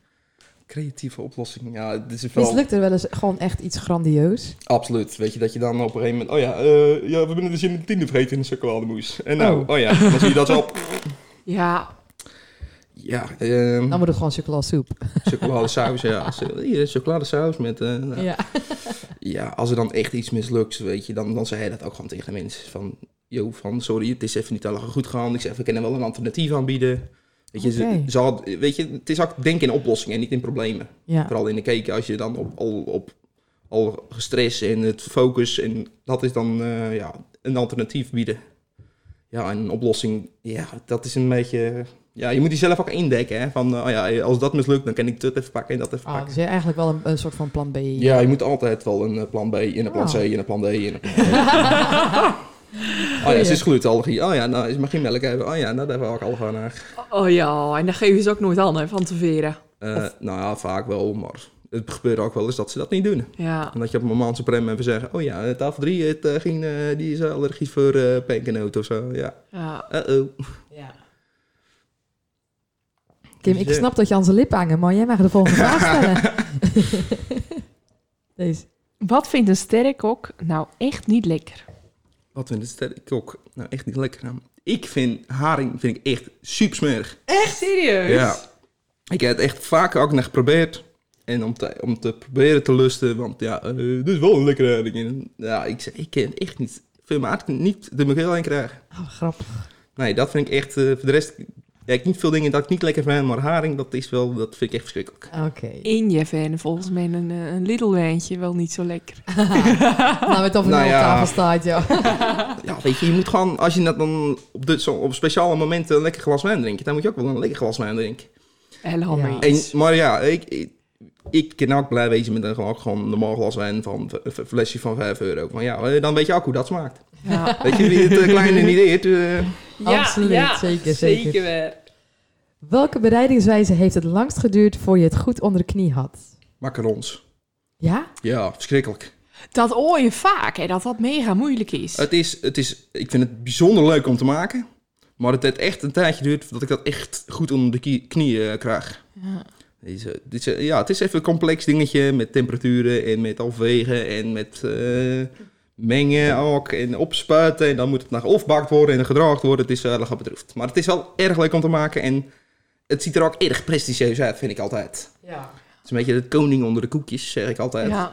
Creatieve oplossing. Ja, dit is wel...
Mislukte wel eens gewoon echt iets grandioos?
Absoluut. Weet je, dat je dan op een gegeven moment... Oh ja, eh, ja we zijn dus in de tiende vergeten in de chocolademoes. En nou,
Oh.
oh, ja, dan zie je dat zo op.
Ja,
Ja,
Dan
ehm
wordt het gewoon chocoladesoep.
chocoladesaus, ja. eh, Hier, chocoladesaus met... eh, nou. ja.
Ja.
als er dan echt iets mislukt, weet je, dan, dan zei hij dat ook gewoon tegen de mensen. Van, yo, van, sorry, het is even niet allemaal goed gegaan. Ik zeg, we kunnen wel een alternatief aanbieden. Weet je, ze-
Oké.
ze had- weet je, het is ook denken in oplossingen en niet in problemen.
Ja.
Vooral in de keken, als je dan op, al, op, al gestrest en het focus en dat is dan eh, ja, een alternatief bieden. Ja, en een oplossing, ja, dat is een beetje... Ja, je moet die zelf ook indekken, hè. Van, eh, oh ja, als dat mislukt, dan kan ik dit even pakken en dat even
Ah,
pakken.
dus eigenlijk wel een, een soort van plan B.
Ja, je moet altijd wel een eh, plan B en een plan
Ah.
C en een plan D en een plan E. Oh ja, ze is glutenallergie. Oh ja, nou, ze mag geen melk hebben. Oh ja, nou, daar wil ik al gaan naar.
oh ja, en dat geven ze ook nooit aan hè, van tevoren.
Eh, nou ja, vaak wel, maar het gebeurt ook wel eens dat ze dat niet doen.
Ja,
En dat je op een moment prem even zeggen, oh ja, eh, tafel 3, het, eh, ging, eh, die is allergisch voor eh penkenoot of zo. Ja,
ja.
uh-oh.
Kim,
Dus
ik snap dat je aan zijn lip hangen, maar jij mag de volgende vraag stellen. Deze.
Wat vindt een sterrenkok nou echt niet lekker?
Wat vindt het sterrenkok nou echt niet lekker aan? Ik vind haring vind ik echt super smerig.
Echt serieus?
Ja. Ik heb het echt vaak ook nog geprobeerd. En om te, om te proberen te lusten, want ja, eh, dit is wel een lekkere haring. En, ja, ik zeg, ik ken echt niet, veel maat niet de mugel heen krijgen.
Oh, grappig.
Nee, dat vind ik echt, eh, voor de rest, ja, ik niet veel dingen dat ik niet lekker vind, maar haring, dat is wel, dat vind ik echt verschrikkelijk.
Oké.
In je fan volgens mij een, eh, een Lidl-wijntje wel niet zo lekker.
nou, met of het
Nou
nou op
ja.
tafel staat, ja.
Ja, weet je, je moet gewoon, als je dat dan op, dit, zo, op speciale momenten een lekker glas wijn drinkt, dan moet je ook wel een lekker glas wijn drinken.
Helemaal
Ja.
mee
En,
eens.
maar ja, ik, ik, ik kan ook blij wezen met een gewoon, ook gewoon normaal glas wijn van een v- flesje van 5 euro. Maar ja, eh, dan weet je ook hoe dat smaakt.
Ja.
Weet je, wie het eh, kleine niet eet. eh,
Absoluut, zeker, zeker.
weer.
Welke bereidingswijze heeft het langst geduurd voor je het goed onder de knie had?
macarons.
Ja?
Ja, verschrikkelijk.
Dat hoor je vaak, hè, dat dat mega moeilijk is.
Het is, het is, ik vind het bijzonder leuk om te maken. Maar het heeft echt een tijdje duurt dat ik dat echt goed onder de kie- knie eh, krijg.
Ja.
Deze, dit is, eh, ja, het is even een complex dingetje met temperaturen en met afwegen en met eh, mengen ook en opspuiten. En dan moet het nog opbakt worden en gedraagd worden. Het is wel erg bedroefd. Maar het is wel erg leuk om te maken en het ziet er ook erg prestigieus uit, vind ik altijd.
Ja.
Het is een beetje de koning onder de koekjes, zeg ik altijd.
Ja,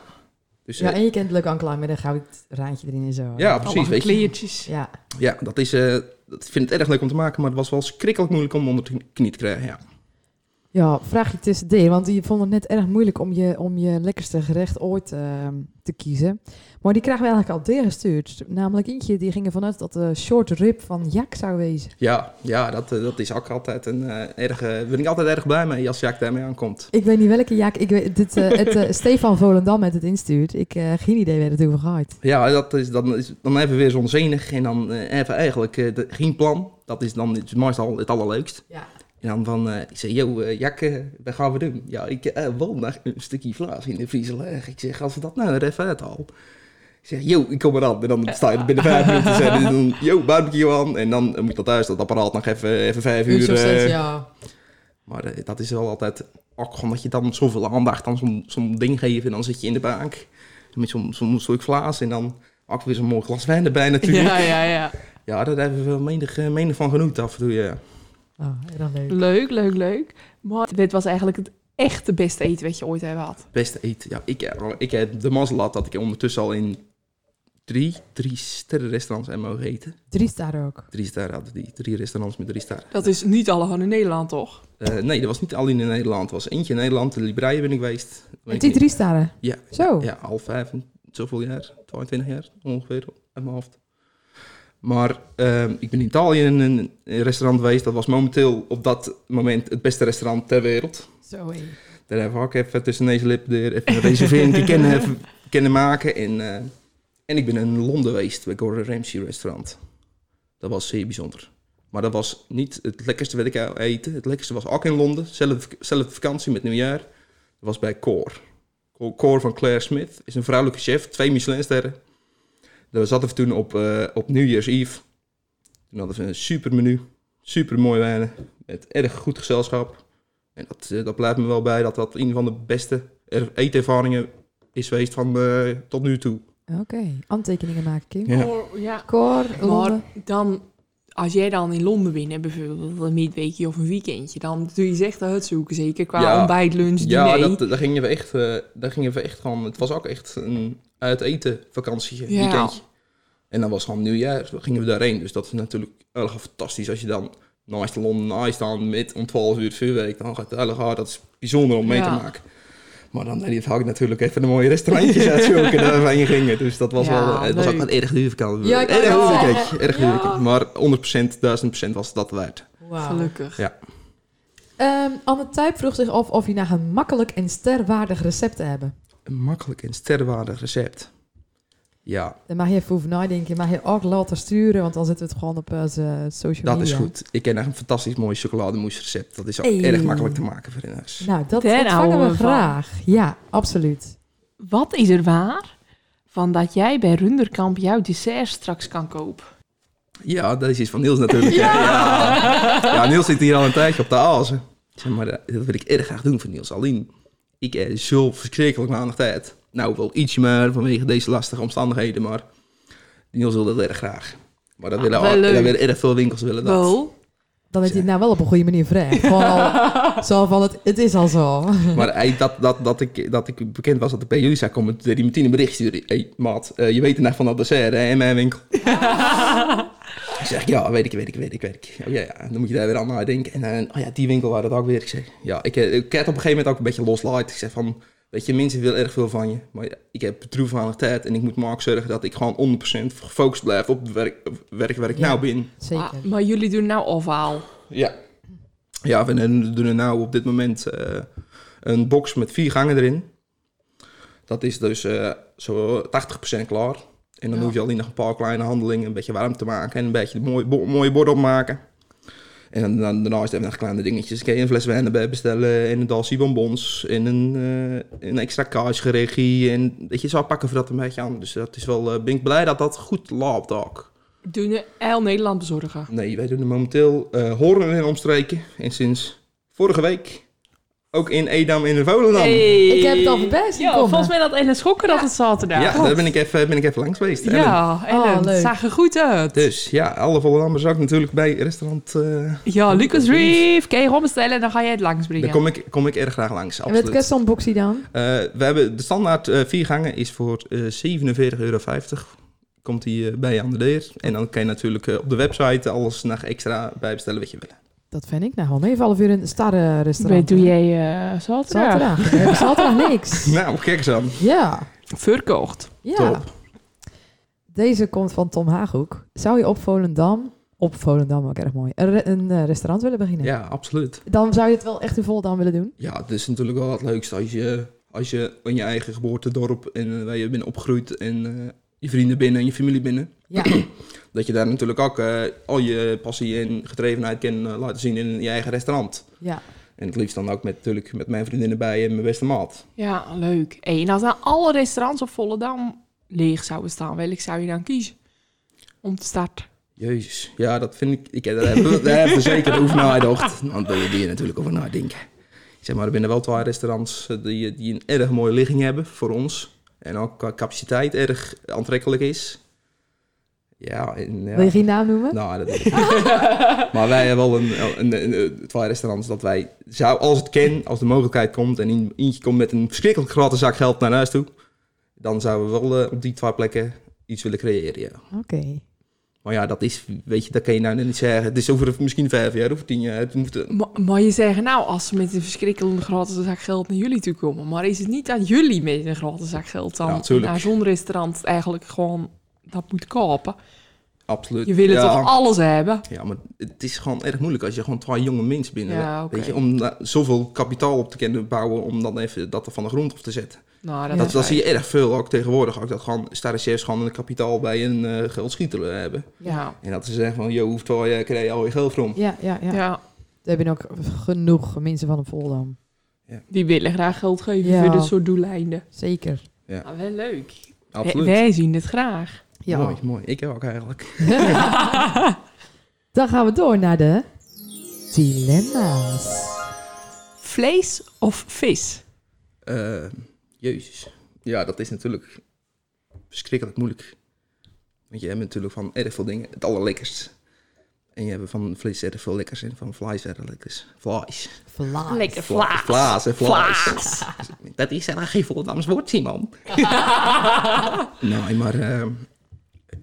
dus, eh,
en je kent het leuk aanklaar met een goud raantje erin en zo.
ja precies.
allemaal
Weet je.
kleertjes.
Ja.
Ja, dat is, eh, dat- ik vind het erg leuk om te maken, maar het was wel schrikkelijk moeilijk om onder de knie te krijgen. Ja.
Ja, vraag je tussendoor, want je vond het net erg moeilijk om je, om je lekkerste gerecht ooit ehm, te kiezen. Maar die krijgen we eigenlijk al deurgestuurd. Namelijk eentje, die ging ervan uit dat de short rib van Jak zou wezen.
Ja, ja dat, eh, dat is ook altijd een eh, erg... eh, ben ik altijd erg blij mee als Jaak daarmee aankomt.
Ik weet niet welke Jak, ik weet, dit, eh, het, eh, Stefan Volendam met het instuurt. Ik eh geen idee waar het over gaat.
Ja, dat is, dan, is, dan even weer zo'n zenig en dan eh, even eigenlijk eh, de- geen plan. Dat is dan het, meestal het allerleukst.
Ja.
En dan van, eh, ik zeg, yo, eh Jack, eh, wat gaan we doen? Ja, ik eh wil nog een stukje vlaas in de vriezer Ik zeg, als we dat nou er even uithalen. Ik zeg, yo, ik kom eraan. En dan sta je er binnen vijf minuten en zeg je dan, yo, barbecue aan. En dan eh, moet dat thuis, dat apparaat nog even, even vijf uur. eh,
ja.
maar eh, dat is wel altijd ook gewoon dat je dan zoveel aandacht aan zo'n zo'n ding geeft. En dan zit je in de bank met zo'n zo'n stuk vlaas. En dan ook weer zo'n mooi glas wijn erbij natuurlijk. Ja,
Ja, ja, ja.
daar hebben we wel menig, eh, menig van genoten af en toe, eh, ja.
Oh, erg leuk.
Leuk, leuk, leuk. Maar dit was eigenlijk het echte beste eten wat je ooit hebt gehad.
Beste eten. Ja, ik, eh, ik heb de mazzel gehad dat ik ondertussen al in drie, drie sterren restaurants en mogen eten.
Drie sterren ook.
Drie sterren hadden die, drie restaurants met drie sterren.
Dat is niet allemaal in Nederland, toch?
Eh, nee, dat was niet alleen in Nederland. Er was eentje in Nederland, de Libraïe ben ik geweest. Daar ben
Met
ik
die
niet-
drie sterren?
Ja.
Zo.
Ja, al vijf, en zoveel jaar, 22 jaar ongeveer, uit mijn hoofd. Maar ehm, ik ben in Italië in een in een restaurant geweest. Dat was momenteel op dat moment het beste restaurant ter wereld.
Zo hé.
Daar hebben we ook even tussen deze lippen deur even een reservering kennen, even kennen maken. En, eh, en ik ben in Londen geweest bij Gordon Ramsay restaurant. Dat was zeer bijzonder. Maar dat was niet het lekkerste wat ik wou eten. Het lekkerste was ook in Londen. Zelf, zelf vakantie met nieuwjaar. Dat was bij Core. Co- Core van Claire Smith is een vrouwelijke chef. Twee Michelinsterren. Daar zaten we toen op, eh, op New Eve. Toen hadden we een super menu. Super mooi wijnen. Met erg goed gezelschap. En dat, eh, dat blijft me wel bij dat dat een van de beste er- eetervaringen is geweest van eh, tot nu toe.
Oké, aantekeningen maken, Kim.
Ja.
Oh, ja.
Cor, Londen.
Maar dan, als jij dan in Londen bent, hè, bijvoorbeeld een midweekje of een weekendje, dan doe je echt uit zoeken, zeker qua
Ja.
ontbijt, lunch,
Ja,
diner.
dat, daar, gingen we echt, eh, daar gingen we echt gewoon... Het was ook echt een uit eten vakantietje,
Ja.
weekendje. En dan was gewoon nieuwjaar, dus gingen we daarheen. Dus dat is natuurlijk erg fantastisch als je dan naast de Londen naast dan met om 12 uur vuurwerk. Dan gaat het erg hard, dat is bijzonder om mee te
Ja.
maken. Maar dan deed het hak natuurlijk even een mooie restaurantjes uitzoeken daar we heen gingen. Dus dat was
Ja,
wel... Het was ook
leuk.
een erg duur vakantie.
Ja, ik
erg
wou
duur
zeggen.
vakantie, erg duur
Ja.
vakantie. Maar 100%, 1000% was dat waard.
Gelukkig.
Ehm, Anne Tuyp vroeg zich af of je naar een makkelijk en sterwaardig recept te hebben.
Een makkelijk en sterrenwaardig recept. Ja,
Daar mag je even over nadenken. Je mag je ook laten sturen, want dan zetten we het gewoon op onze social
Oh
Dat is
media.
goed. Ik ken echt een fantastisch mooi chocolademousse recept. Dat is ook
Hey.
erg makkelijk te maken voor in huis.
Nou, dat
Daar
ontvangen
houden
we
we van.
graag. Ja, absoluut.
Wat is er waar van dat jij bij Runderkamp jouw dessert straks kan kopen?
Ja, dat is iets van Niels natuurlijk. hè. ja. Ja, Niels zit hier al een tijdje op de azen. Zeg maar, eh, dat wil ik erg graag doen voor Niels. Alleen, ik heb zo verschrikkelijk weinig tijd. Nou, wel ietsje maar vanwege deze lastige omstandigheden, maar Niels wil dat erg graag. Maar dat
Ah,
willen,
wel
al, dat
leuk.
willen erg veel winkels willen dat.
Wel,
Dan weet je het nou wel op een goede manier vrij. Gewoon al, zo van, het, het is al zo.
Maar hij, dat, dat, dat, ik, dat ik bekend was dat ik bij jullie zou komen, toen deed hij meteen een bericht sturen. Hé, hey, maat, eh, je weet er nou van dat dessert hè, in mijn winkel. ik zeg, ja, weet ik, weet ik, weet ik, weet ik. Oh ja, ja, dan moet je daar weer aan nadenken. En dan, oh ja, die winkel waar dat ook weer. Ik zeg, ja, ik, eh, ik heb op een gegeven moment ook een beetje loslaat. Ik zeg van, weet je, mensen willen erg veel van je. Maar ja, ik heb troef weinig tijd en ik moet maar ook zorgen dat ik gewoon 100% gefocust blijf op het werk, op het werk waar ik
Ja.
nou ben.
Zeker.
ah, maar jullie doen nou ovaal.
Ja. Ja, we doen- doen nou op dit moment eh, een box met vier gangen erin. Dat is dus eh zo 80% klaar. En dan
Ja.
hoef je alleen nog een paar kleine handelingen, een beetje warm te maken en een beetje een mooi, bo- mooie bord opmaken. En dan, dan, daarnaast hebben we nog kleine dingetjes. Kun je een fles wijn erbij bestellen en een dalsie bonbons en een, eh, een extra kaasgeregie. En weet je, zo pakken we dat een beetje aan. Dus dat is wel, eh, ben ik blij dat dat goed loopt ook.
Doen we heel Nederland bezorgen.
Nee, wij doen er momenteel eh, horen en omstreken. En sinds vorige week ook in Edam in de Volendam.
Ik heb het al voorbij zien
Ja,
komen.
volgens mij dat Ellen Schokker dat het zaterdag.
ja, daar ben ik, even, ben ik even langs geweest. Ellen.
Ja, Ellen,
Oh, leuk.
zag er goed uit.
Dus ja, alle Volendammers ook natuurlijk bij restaurant. eh,
Ja, Lucas Reef, kan je gewoon bestellen, dan ga jij het
Daar
langsbrengen.
kom ik, kom ik erg graag langs,
en met
absoluut.
kerstontboxie dan?
Eh, we hebben de standaard eh, vier gangen is voor eh, 47,50 euro. Komt die eh, bij je aan de deur. En dan kan je natuurlijk eh, op de website alles nog extra bijbestellen wat je wil.
Dat vind ik nou wel. Nee, half uur in een
Wat
sterrenrestaurant.
doe jij eh, zaterdag?
Zaterdag. We hebben zaterdag niks.
Nou, kijk eens aan.
Ja.
Verkocht.
Ja.
Top.
Deze komt van Tom Haaghoek. Zou je op Volendam, op Volendam ook erg mooi, een, re- een, eh, restaurant willen beginnen?
Ja, absoluut.
Dan zou je het wel echt in Volendam willen doen?
Ja, het is natuurlijk wel het leukste als je, als je in je eigen geboortedorp en eh, waar je bent opgegroeid en eh, je vrienden binnen en je familie binnen.
Ja.
Dat je daar natuurlijk ook eh, al je passie en gedrevenheid kan eh, laten zien in je eigen restaurant.
Ja.
En het liefst dan ook met, natuurlijk met mijn vriendinnen bij en mijn beste maat.
Ja, leuk. Hey, en als dan alle restaurants op Volendam leeg zouden staan, welk zou je dan kiezen? Om te starten.
Jezus, ja, dat vind ik. ik daar hebben daar hebben we zeker over nagedacht. Want daar wil je hier natuurlijk over nadenken. Ik zeg maar, er binnen wel twee restaurants eh, die, die een erg mooie ligging hebben voor ons. En ook qua capaciteit erg aantrekkelijk is. Ja, en, ja.
Wil je geen naam noemen?
Nou, dat weet ik niet. Maar wij hebben wel een, een, een, een- twee restaurants dat wij, zou, als het kan, als de mogelijkheid komt en een- eentje komt met een verschrikkelijk grote zak geld naar huis toe, dan zouden we wel eh, op die twee plekken iets willen creëren, ja.
Oké.
Maar ja, dat is, weet je, dat kan je nou net niet zeggen. Het is over misschien vijf jaar of tien jaar. Het moet, eh,
Ma- Maar je zeggen, nou, als ze met een verschrikkelijke grote zak geld naar jullie toe komen. Maar is het niet dat jullie met een grote zak geld
Ja,
dan
tuurlijk.
naar zo'n restaurant eigenlijk gewoon dat moet kopen?
absoluut.
Je wil het
ja,
toch alles hebben?
Ja, maar het is gewoon erg moeilijk als je gewoon twee jonge mensen binnen
Ja, oké.
Weet je, om daar zoveel kapitaal op te kunnen bouwen om dan even dat er van de grond op te zetten.
Nou, dat,
Ja.
Dat,
is
dat
waar.
zie je erg veel ook tegenwoordig. Ook dat gewoon starre chefs gewoon een kapitaal bij een eh, geldschieter hebben.
Ja.
En dat ze zeggen van, joh, hoeveel eh, krijg je al je geld van?
Ja, ja, ja.
Ja.
We hebben ook genoeg mensen van de Voldam.
die willen graag geld geven
Ja.
voor dit soort doeleinden.
Zeker.
Nou, wel leuk. Wij,
Absoluut.
wij zien het graag.
Ja.
Mooi, mooi. Ik ook eigenlijk.
Dan gaan we door naar de dilemma's.
Vlees of vis?
Eh, jezus. Ja, dat is natuurlijk verschrikkelijk moeilijk. Want je hebt natuurlijk van erg veel dingen het allerlekkerst. En je hebt van vlees erg veel lekkers en van vlees erg lekkers. Vlees.
Vlaag.
Lekker
Vla-
vlaas.
Vlaas, hè, vlaas.
Vlaas.
Dat is eigenlijk geen Volendams woord, Simon. nee, maar ehm,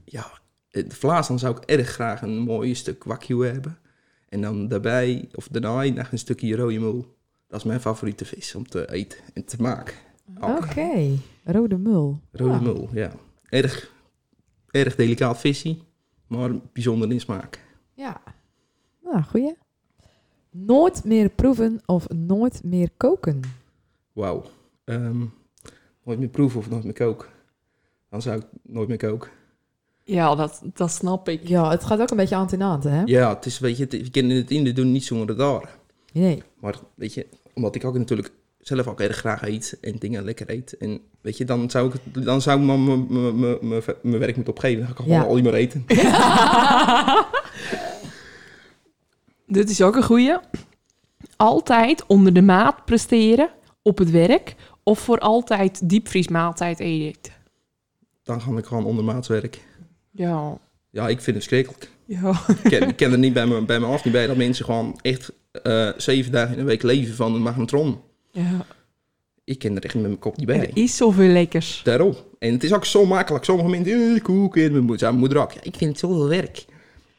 ja, eh, de Vlaas, dan zou ik erg graag een mooi stuk wakkie hebben. En dan daarbij, of daarna, nog een stukje rode mul. Dat is mijn favoriete vis om te eten en te maken.
Oké.
Ook.
Rode mul. Ah,
Rode
Ja.
mul, ja. Erg, erg delicaat visie, maar bijzonder in smaak.
Ja. Nou, goeie. Nooit meer proeven of nooit meer koken.
Wauw. Ehm, nooit meer proeven of nooit meer koken. Dan zou ik nooit meer koken.
Ja, dat, dat snap ik.
Ja, het gaat ook een beetje hand in hand, hè?
Ja, het is, weet je, het- we kennen het in de doen niet zonder het daar.
Nee.
Maar weet je, omdat ik ook natuurlijk zelf ook erg graag eet en dingen lekker eet. En weet je, dan zou ik, het- dan zou ik mijn- mijn- mijn- mijn- mijn ver- mijn werk moeten opgeven. Dan ga ik gewoon
Ja.
al niet meer eten.
Dit is ook een goeie. Altijd onder de maat presteren op het werk of voor altijd diepvriesmaaltijd eten.
Dan ga ik gewoon ondermaats werk.
Ja.
Ja, ik vind het schrikkelijk.
Ja.
Ik ken, ik ken er niet bij me, bij me af, niet bij dat mensen gewoon echt eh, zeven dagen in een week leven van een magnetron.
ja.
Ik ken er echt met mijn kop niet bij.
Er is zoveel lekkers.
Daarom. En het is ook zo makkelijk. Sommige mensen, eh, koek in mijn moeder, moeder op. Ja, ik vind het zoveel werk.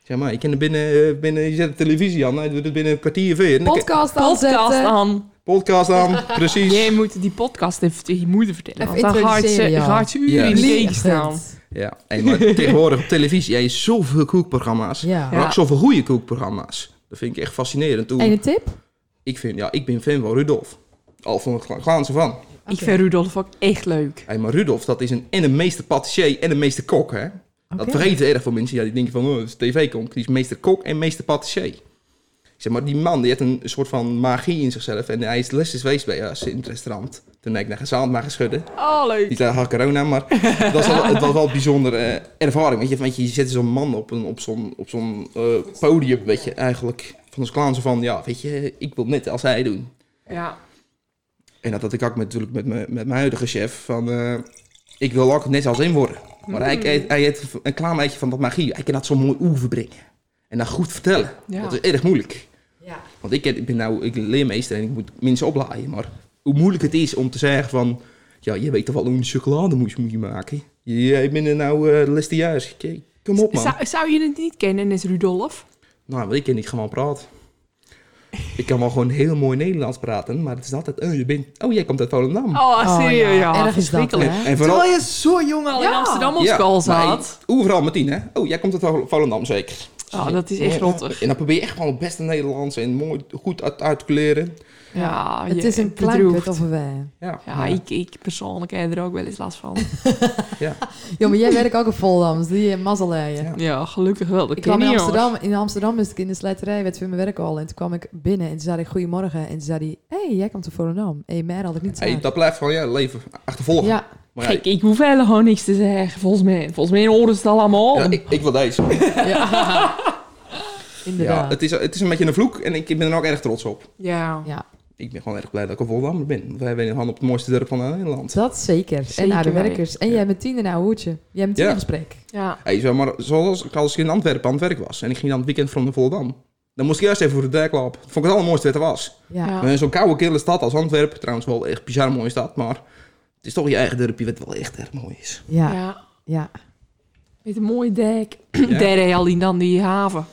Zeg maar, ik ken er binnen, eh, binnen, je zet de televisie aan, hij doet het binnen een kwartier weer. En dan kan-
Podcast
Podcast
aanzetten.
aan.
Podcast aan, precies.
Jij moet die podcast even tegen je moeder vertellen.
Even
Want dan gaat ze,
introduceren, ja.
gaat ze uren in de
Juist.
keuken staan.
Ja, en maar tegenwoordig op televisie, jij is zoveel kookprogramma's.
Ja.
Maar ook zoveel goede kookprogramma's. Dat vind ik echt fascinerend. Hoe,
En een tip?
ik, vind, ja, ik ben fan van Rudolf. Al van het gla- glaanse van.
Ik vind Rudolf ook echt leuk.
Hey, maar Rudolf, dat is een, en een meester patissier en een meester kok, hè? Dat
Oké.
vergeten erg veel mensen. Ja, die denken van, oh, dat is tv-kok. Die is meester kok en meester patissier. Ik Zeg maar, die man, die heeft een soort van magie in zichzelf. En hij is les is geweest bij ons in het restaurant. Toen heb ik naar gezaand maar geschudden.
Oh, leuk.
Niet aan haar corona, maar het was wel, het was wel een bijzondere eh, ervaring. Weet je, want je zet zo'n man op, een, op zo'n, op zo'n eh, podium, weet je, eigenlijk. Van ons klaanse van, ja, weet je, ik wil net als hij doen.
Ja.
En dat had ik ook met, natuurlijk met, mijn- met mijn huidige chef. Van, eh, ik wil ook net als hem worden. Maar
Mm.
hij, hij, hij heeft een klein beetje van dat magie. Hij kan dat zo mooi overbrengen. En dat goed vertellen.
Ja.
Dat is erg moeilijk.
Ja.
Want ik, ik ben nou ik ben leermeester en ik moet mensen opleiden. Maar hoe moeilijk het is om te zeggen van... Ja, je weet toch wel hoe een chocolademousse moet je maken? Jij bent er nou eh, les te juist. K- Kom op, Oh, man.
Zou, zou je het niet kennen, is Rudolf?
Nou, want ik kan niet gewoon praten. Ik kan wel gewoon heel mooi Nederlands praten, maar het is altijd... Oh, je bent, oh jij komt uit Volendam.
Oh, serieus? ja.
Erg is dat,
verschrikkelijk.
hè?
en
Terwijl je zo jong al in
Ja.
Amsterdam op school
maar
zat.
ik- overal met tien, hè? Oh, jij komt uit Volendam zeker.
Oh, dat is echt rottig.
En dan probeer je echt gewoon het beste Nederlands en mooi goed uit uit te kleren.
Ja,
Het
je-
is een klein
bedroefd.
put of een wijn.
Ja,
Ja, ik, ik persoonlijk heb er ook wel eens last van.
ja.
Ja, maar jij werkt ook in Volendam, dus die eh, mazzel heb je.
Ja.
ja, gelukkig wel. Dat
Ik
ken
kwam
je,
in
jongens.
Amsterdam, in Amsterdam is ik in de slijterij, werd voor mijn werk al. En toen kwam ik binnen en toen zei ik goedemorgen. En toen zei hij, hé, hey, jij komt uit Volendam. Hé, hey, mij had ik niet
Hey,
gezegd.
dat blijft gewoon ja, leven achtervolgen.
Ja,
Maar ja,
Kijk, ik hoef helemaal gewoon niks te zeggen, volgens mij. Volgens mij horen ze het allemaal.
ja, ik, ik wil deze. Ja,
inderdaad.
het, is, het is een beetje een vloek en ik ben er ook erg trots op.
Ja.
Ja,
Ik ben gewoon erg blij dat ik een Volendammer ben. Wij hebben gewoon op het mooiste dorp van Nederland.
dat zeker.
Zeker
En naar de
waar.
werkers. En jij met tien in een hoertje. Jij met tien
Ja.
in gesprek.
ja.
Hey, zeg maar, zoals ik als ik in Antwerpen aan het werk was en ik ging dan het weekend van de Volendam. Dan moest ik eerst even voor de dijklaap. Vond ik het allermooiste wat er was.
Ja.
Ja.
Maar in Eh, zo'n koude, kille stad als Antwerpen, trouwens wel echt bizar mooie stad, maar het is toch je eigen dorpje wat wel echt erg mooi is.
Ja.
Ja.
ja.
Met een mooi dek.
Ja.
Daar heb je al in dan die haven.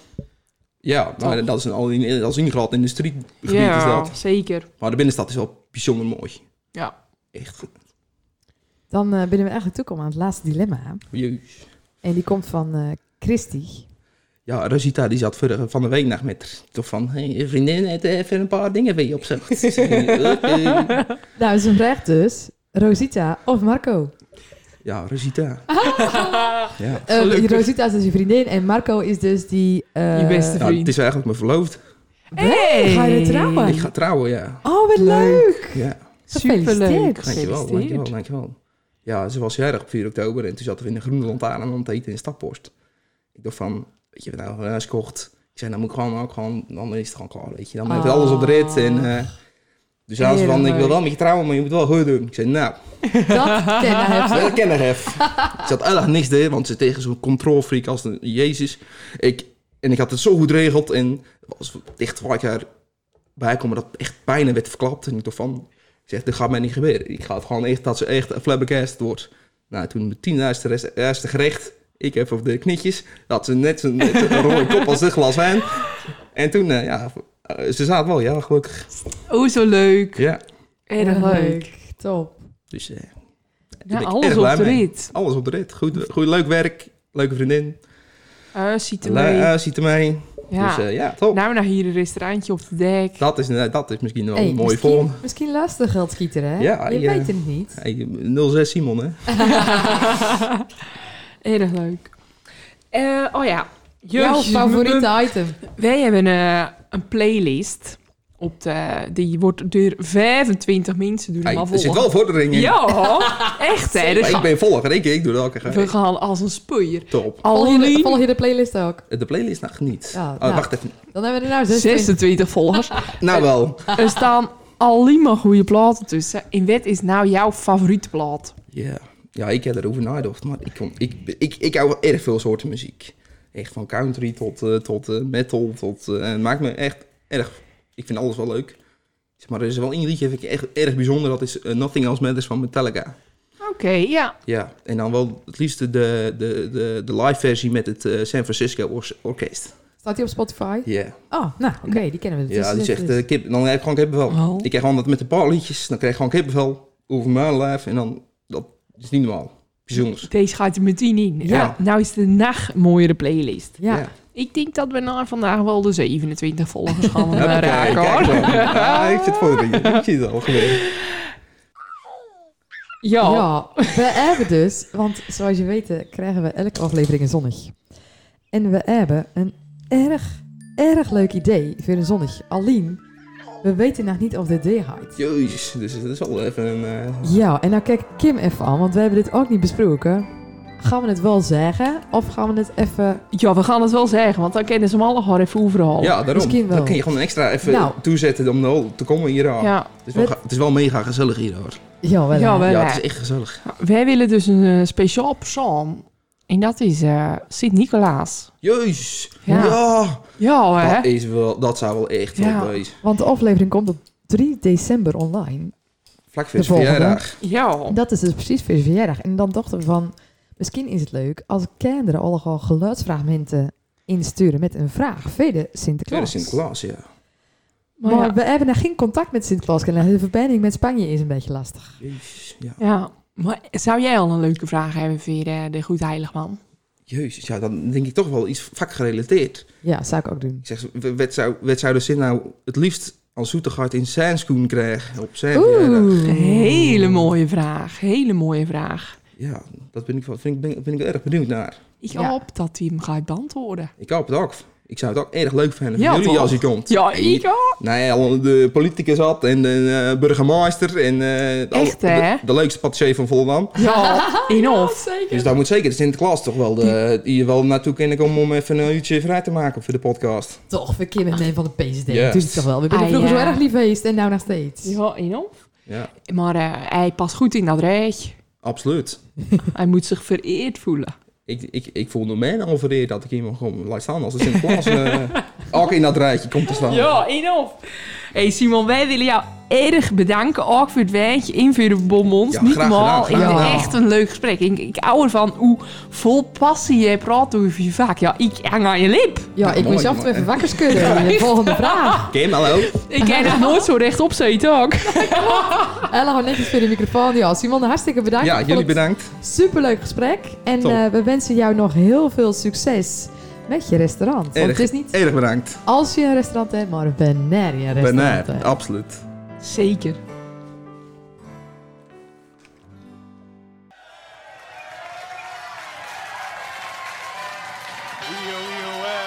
Ja, maar
Toch?
dat is een, al in- dat is een groot industriegebied is
ja,
dat.
zeker.
Maar de binnenstad is wel bijzonder mooi.
Ja.
Echt goed.
Dan eh, binnen we eigenlijk toekomen aan het laatste dilemma.
Jeus.
En die komt van eh Christy.
Ja, Rosita die zat vorige, van de week nog met toch van, hey, je vriendin heeft even een paar dingen van je opzocht. Oké.
Nou, ze vraagt dus Rosita of Marco.
ja, Rosita. Ja.
Eh,
Gelukkig.
Rosita is dus je vriendin en Marco is dus die... eh,
Je beste
Ja, het
vriend.
is eigenlijk mijn verloofd.
Hey!
Ga je trouwen?
Ik ga trouwen, ja.
Oh, wat leuk!
Ja,
Gefeliciteerd.
Superleuk.
dankjewel, dankjewel, dankjewel. Ja, ze was jarig op 4 oktober en toen zaten we in de Groene Lantaarn aan het eten in Staphorst. Ik dacht van, weet je, we nou huis kocht. Ik zei, dan moet ik gewoon ook gewoon, dan is het gewoon klaar, weet je. Dan hebben we alles op de rit en... eh, dus zei ze van, ik wil wel met je trouwen, maar je moet wel goed doen. Ik zei, nou,
Dat kennen heeft.
dat ken ik hef. Ik zat eigenlijk niks deed, want ze tegen zo'n controlfreak als een Jezus. Ik, en ik had het zo goed geregeld en was dicht waar ik erbij kwam, dat het echt bijna werd verklapt. En ik dacht van, ik zeg, dit gaat mij niet gebeuren. Ik ga het gewoon echt, dat ze echt flabbergasted wordt. Nou, toen mijn tienduizend rest- eerste gerecht, ik even op de knietjes, dat ze net zo'n net zo'n rode kop als dit glas wijn. En toen, eh, ja, eh, ze zaten wel, ja, gelukkig.
Oh, zo leuk.
Ja,
Erg leuk.
Top.
dus eh,
Ja,
ben ik
alles
erg
op
blij
de
mee.
rit.
alles op de rit. Goed, goed, leuk werk, leuke vriendin.
Eh, ziet er mee.
Ja, ziet ermee.
ja.
Dus eh, ja, top.
Nou, nou hier een restaurantje op de dek.
dat, is, inderdaad- dat is misschien wel
Hey,
een mooie
misschien,
vorm.
Misschien lastig geldschieter, hè?
Ja,
je
ja.
weet het niet.
Hey, 06 Simon, hè?
Erg leuk. Eh, oh ja.
Jouw
Jezus,
favoriete item.
Wij hebben eh, een playlist. Op de, die wordt door 25 mensen doen.
Hey,
maar
er zit wel vordering in.
Ja, echt hè. Dus
Maar ik ben volger, ik, ik doe dat ook.
we gaan als een spuier.
Top.
Volg je, de, volg
Alleen
je de playlist ook?
De playlist nog niet.
Ja,
oh,
nou.
Wacht even.
Dan hebben we er nou 26.
26 volgers.
Nou wel.
Er staan alleen maar goede platen tussen. In wet is nou jouw favoriete plaat?
Ja, ja ik heb erover nagedacht, maar ik, kon, ik, ik, ik hou wel erg veel soorten muziek. Echt van country tot, eh, tot eh, metal, tot... eh, en het maakt me echt erg... Ik vind alles wel leuk. Zeg maar er is wel één liedje vind ik echt erg bijzonder, dat is eh, Nothing Else Matters van Metallica.
Oké, ja.
Ja, en dan wel het liefst de, de, de, de live versie met het eh, San Francisco Or- Orkest.
Staat die op Spotify?
Ja,
Oh, nou, oké, die kennen we. Dus
ja die
dus-
zegt
dus-
eh, kip, dan heb ik gewoon kippenvel.
Oh.
Ik krijg gewoon dat met een paar liedjes, dan krijg ik gewoon kippenvel over mijn lijf en dan, dat is niet normaal. Bijzonders.
Deze gaat er meteen in. Ja.
Ja.
nou is de nacht mooiere playlist.
ja.
eh, ja.
Ik denk dat we na vandaag wel de 27 volgers gaan eh,
Hoppakee,
raken
kijk
hoor.
dan. Ja, ik zit voor de dingen. Ik zie het al gebeuren.
Ja.
Ja, we hebben dus, want zoals je weet eh, krijgen we elke aflevering een zonnig. En we hebben een erg, erg leuk idee voor een zonnig. Alleen, we weten nog niet of dit deed gaat.
Jezus, dus dat is wel even een... eh,
Ja, en nou kijk Kim even aan, want we hebben dit ook niet besproken. Gaan we het wel zeggen of gaan we het even...
Ja, we gaan het wel zeggen, want dan kennen ze hem alle gewoon even overal.
ja, daarom.
misschien wel.
Dan kun je gewoon een extra even
Nou.
toezetten om nou te komen hier aan.
Ja.
Het, is wel, ga- het is wel mega gezellig hier hoor.
Ja, wel. hè?
Ja, wel.
Ja,
Voilà.
het is echt gezellig.
Wij willen dus een eh, speciaal persoon. En dat is eh Sint-Nicolaas.
Jezus.
Ja.
ja.
Ja,
Dat,
hè?
is wel, dat zou wel echt
Ja.
op deze.
Want de aflevering komt op 3 december online.
Vlak voor zijn
De volgende.
verjaardag.
Ja.
Dat is dus precies voor je verjaardag. En dan dachten we van, misschien is het leuk als kinderen allemaal geluidsfragmenten insturen met een vraag. Vede
Tweede
Sinterklaas.
Sinterklaas, ja.
Maar,
Maar ja.
we hebben nog geen contact met Sinterklaas. En de verbinding met Spanje is een beetje lastig.
Jezus, ja.
ja. Maar zou jij al een leuke vraag hebben voor eh, de Goed Heiligman?
Jezus, ja, dan denk ik toch wel iets vakgerelateerd.
Ja, zou ik ook doen.
Ik zeg, w- wat zou, wat zou de zin nou het liefst als Zoetegard in zijn schoen krijgen op zijn verjaardag?
Oeh.
Hele mooie vraag. Hele mooie vraag.
Ja, dat ben ik, wel- vind ik, ben, ben ik wel erg benieuwd naar.
Ik
Ja.
hoop dat hij hem gaat beantwoorden.
Ik hoop het ook. Ik zou het ook erg leuk vinden van
Ja,
jullie
toch?
als hij komt.
Ja,
Hey,
ik ook.
Nou ja, al de politicus had en de eh, burgemeester en eh, al-
Echt, hè?
De, de leukste patissier van Volendam.
Ja, in of.
Dus daar moet zeker de Sinterklaas toch wel, de, hier wel naartoe kunnen komen om even een uurtje vrij te maken voor de podcast.
Toch, we Kim en een van de PSD.
Ja.
Dus toch wel. We zijn
Ah,
vroeger
ja.
zo erg lief geweest en nou nog steeds.
Ja, in of.
Ja,
Maar eh, hij past goed in dat rijk.
absoluut.
Hij moet zich vereerd voelen.
Ik, ik, ik voel me mij al vereerd dat ik hier mag komen laat staan als de Sinterklaas eh ook in dat rijtje komt te staan.
Ja, in of. Hey Simon, wij willen jou erg bedanken. Ook voor het wijntje in voor de bonbons.
Ja,
Niet
graag
normaal.
gedaan, graag
Ik-
gedaan.
Echt een leuk gesprek. Ik, ik hou ervan hoe vol passie jij praat over je vak. Ja, ik hang aan je lip.
Ja, ik
mooi,
moest af
mooi.
even wakker schudden. De volgende vraag.
Kim, hallo.
Ik heb nog nooit zo rechtop zitten ook.
Ella, gewoon netjes voor de microfoon. Ja, Simon, hartstikke bedankt. Ik
Ja,
vond
jullie
het
bedankt.
Superleuk gesprek. En
Top.
eh, we wensen jou nog heel veel succes met je restaurant. Want
Erg.
het is niet
Erg bedankt.
als je een restaurant hebt, maar wanneer je een restaurant
Benair,
hebt.
absoluut.
Zeker.
Wheel you away.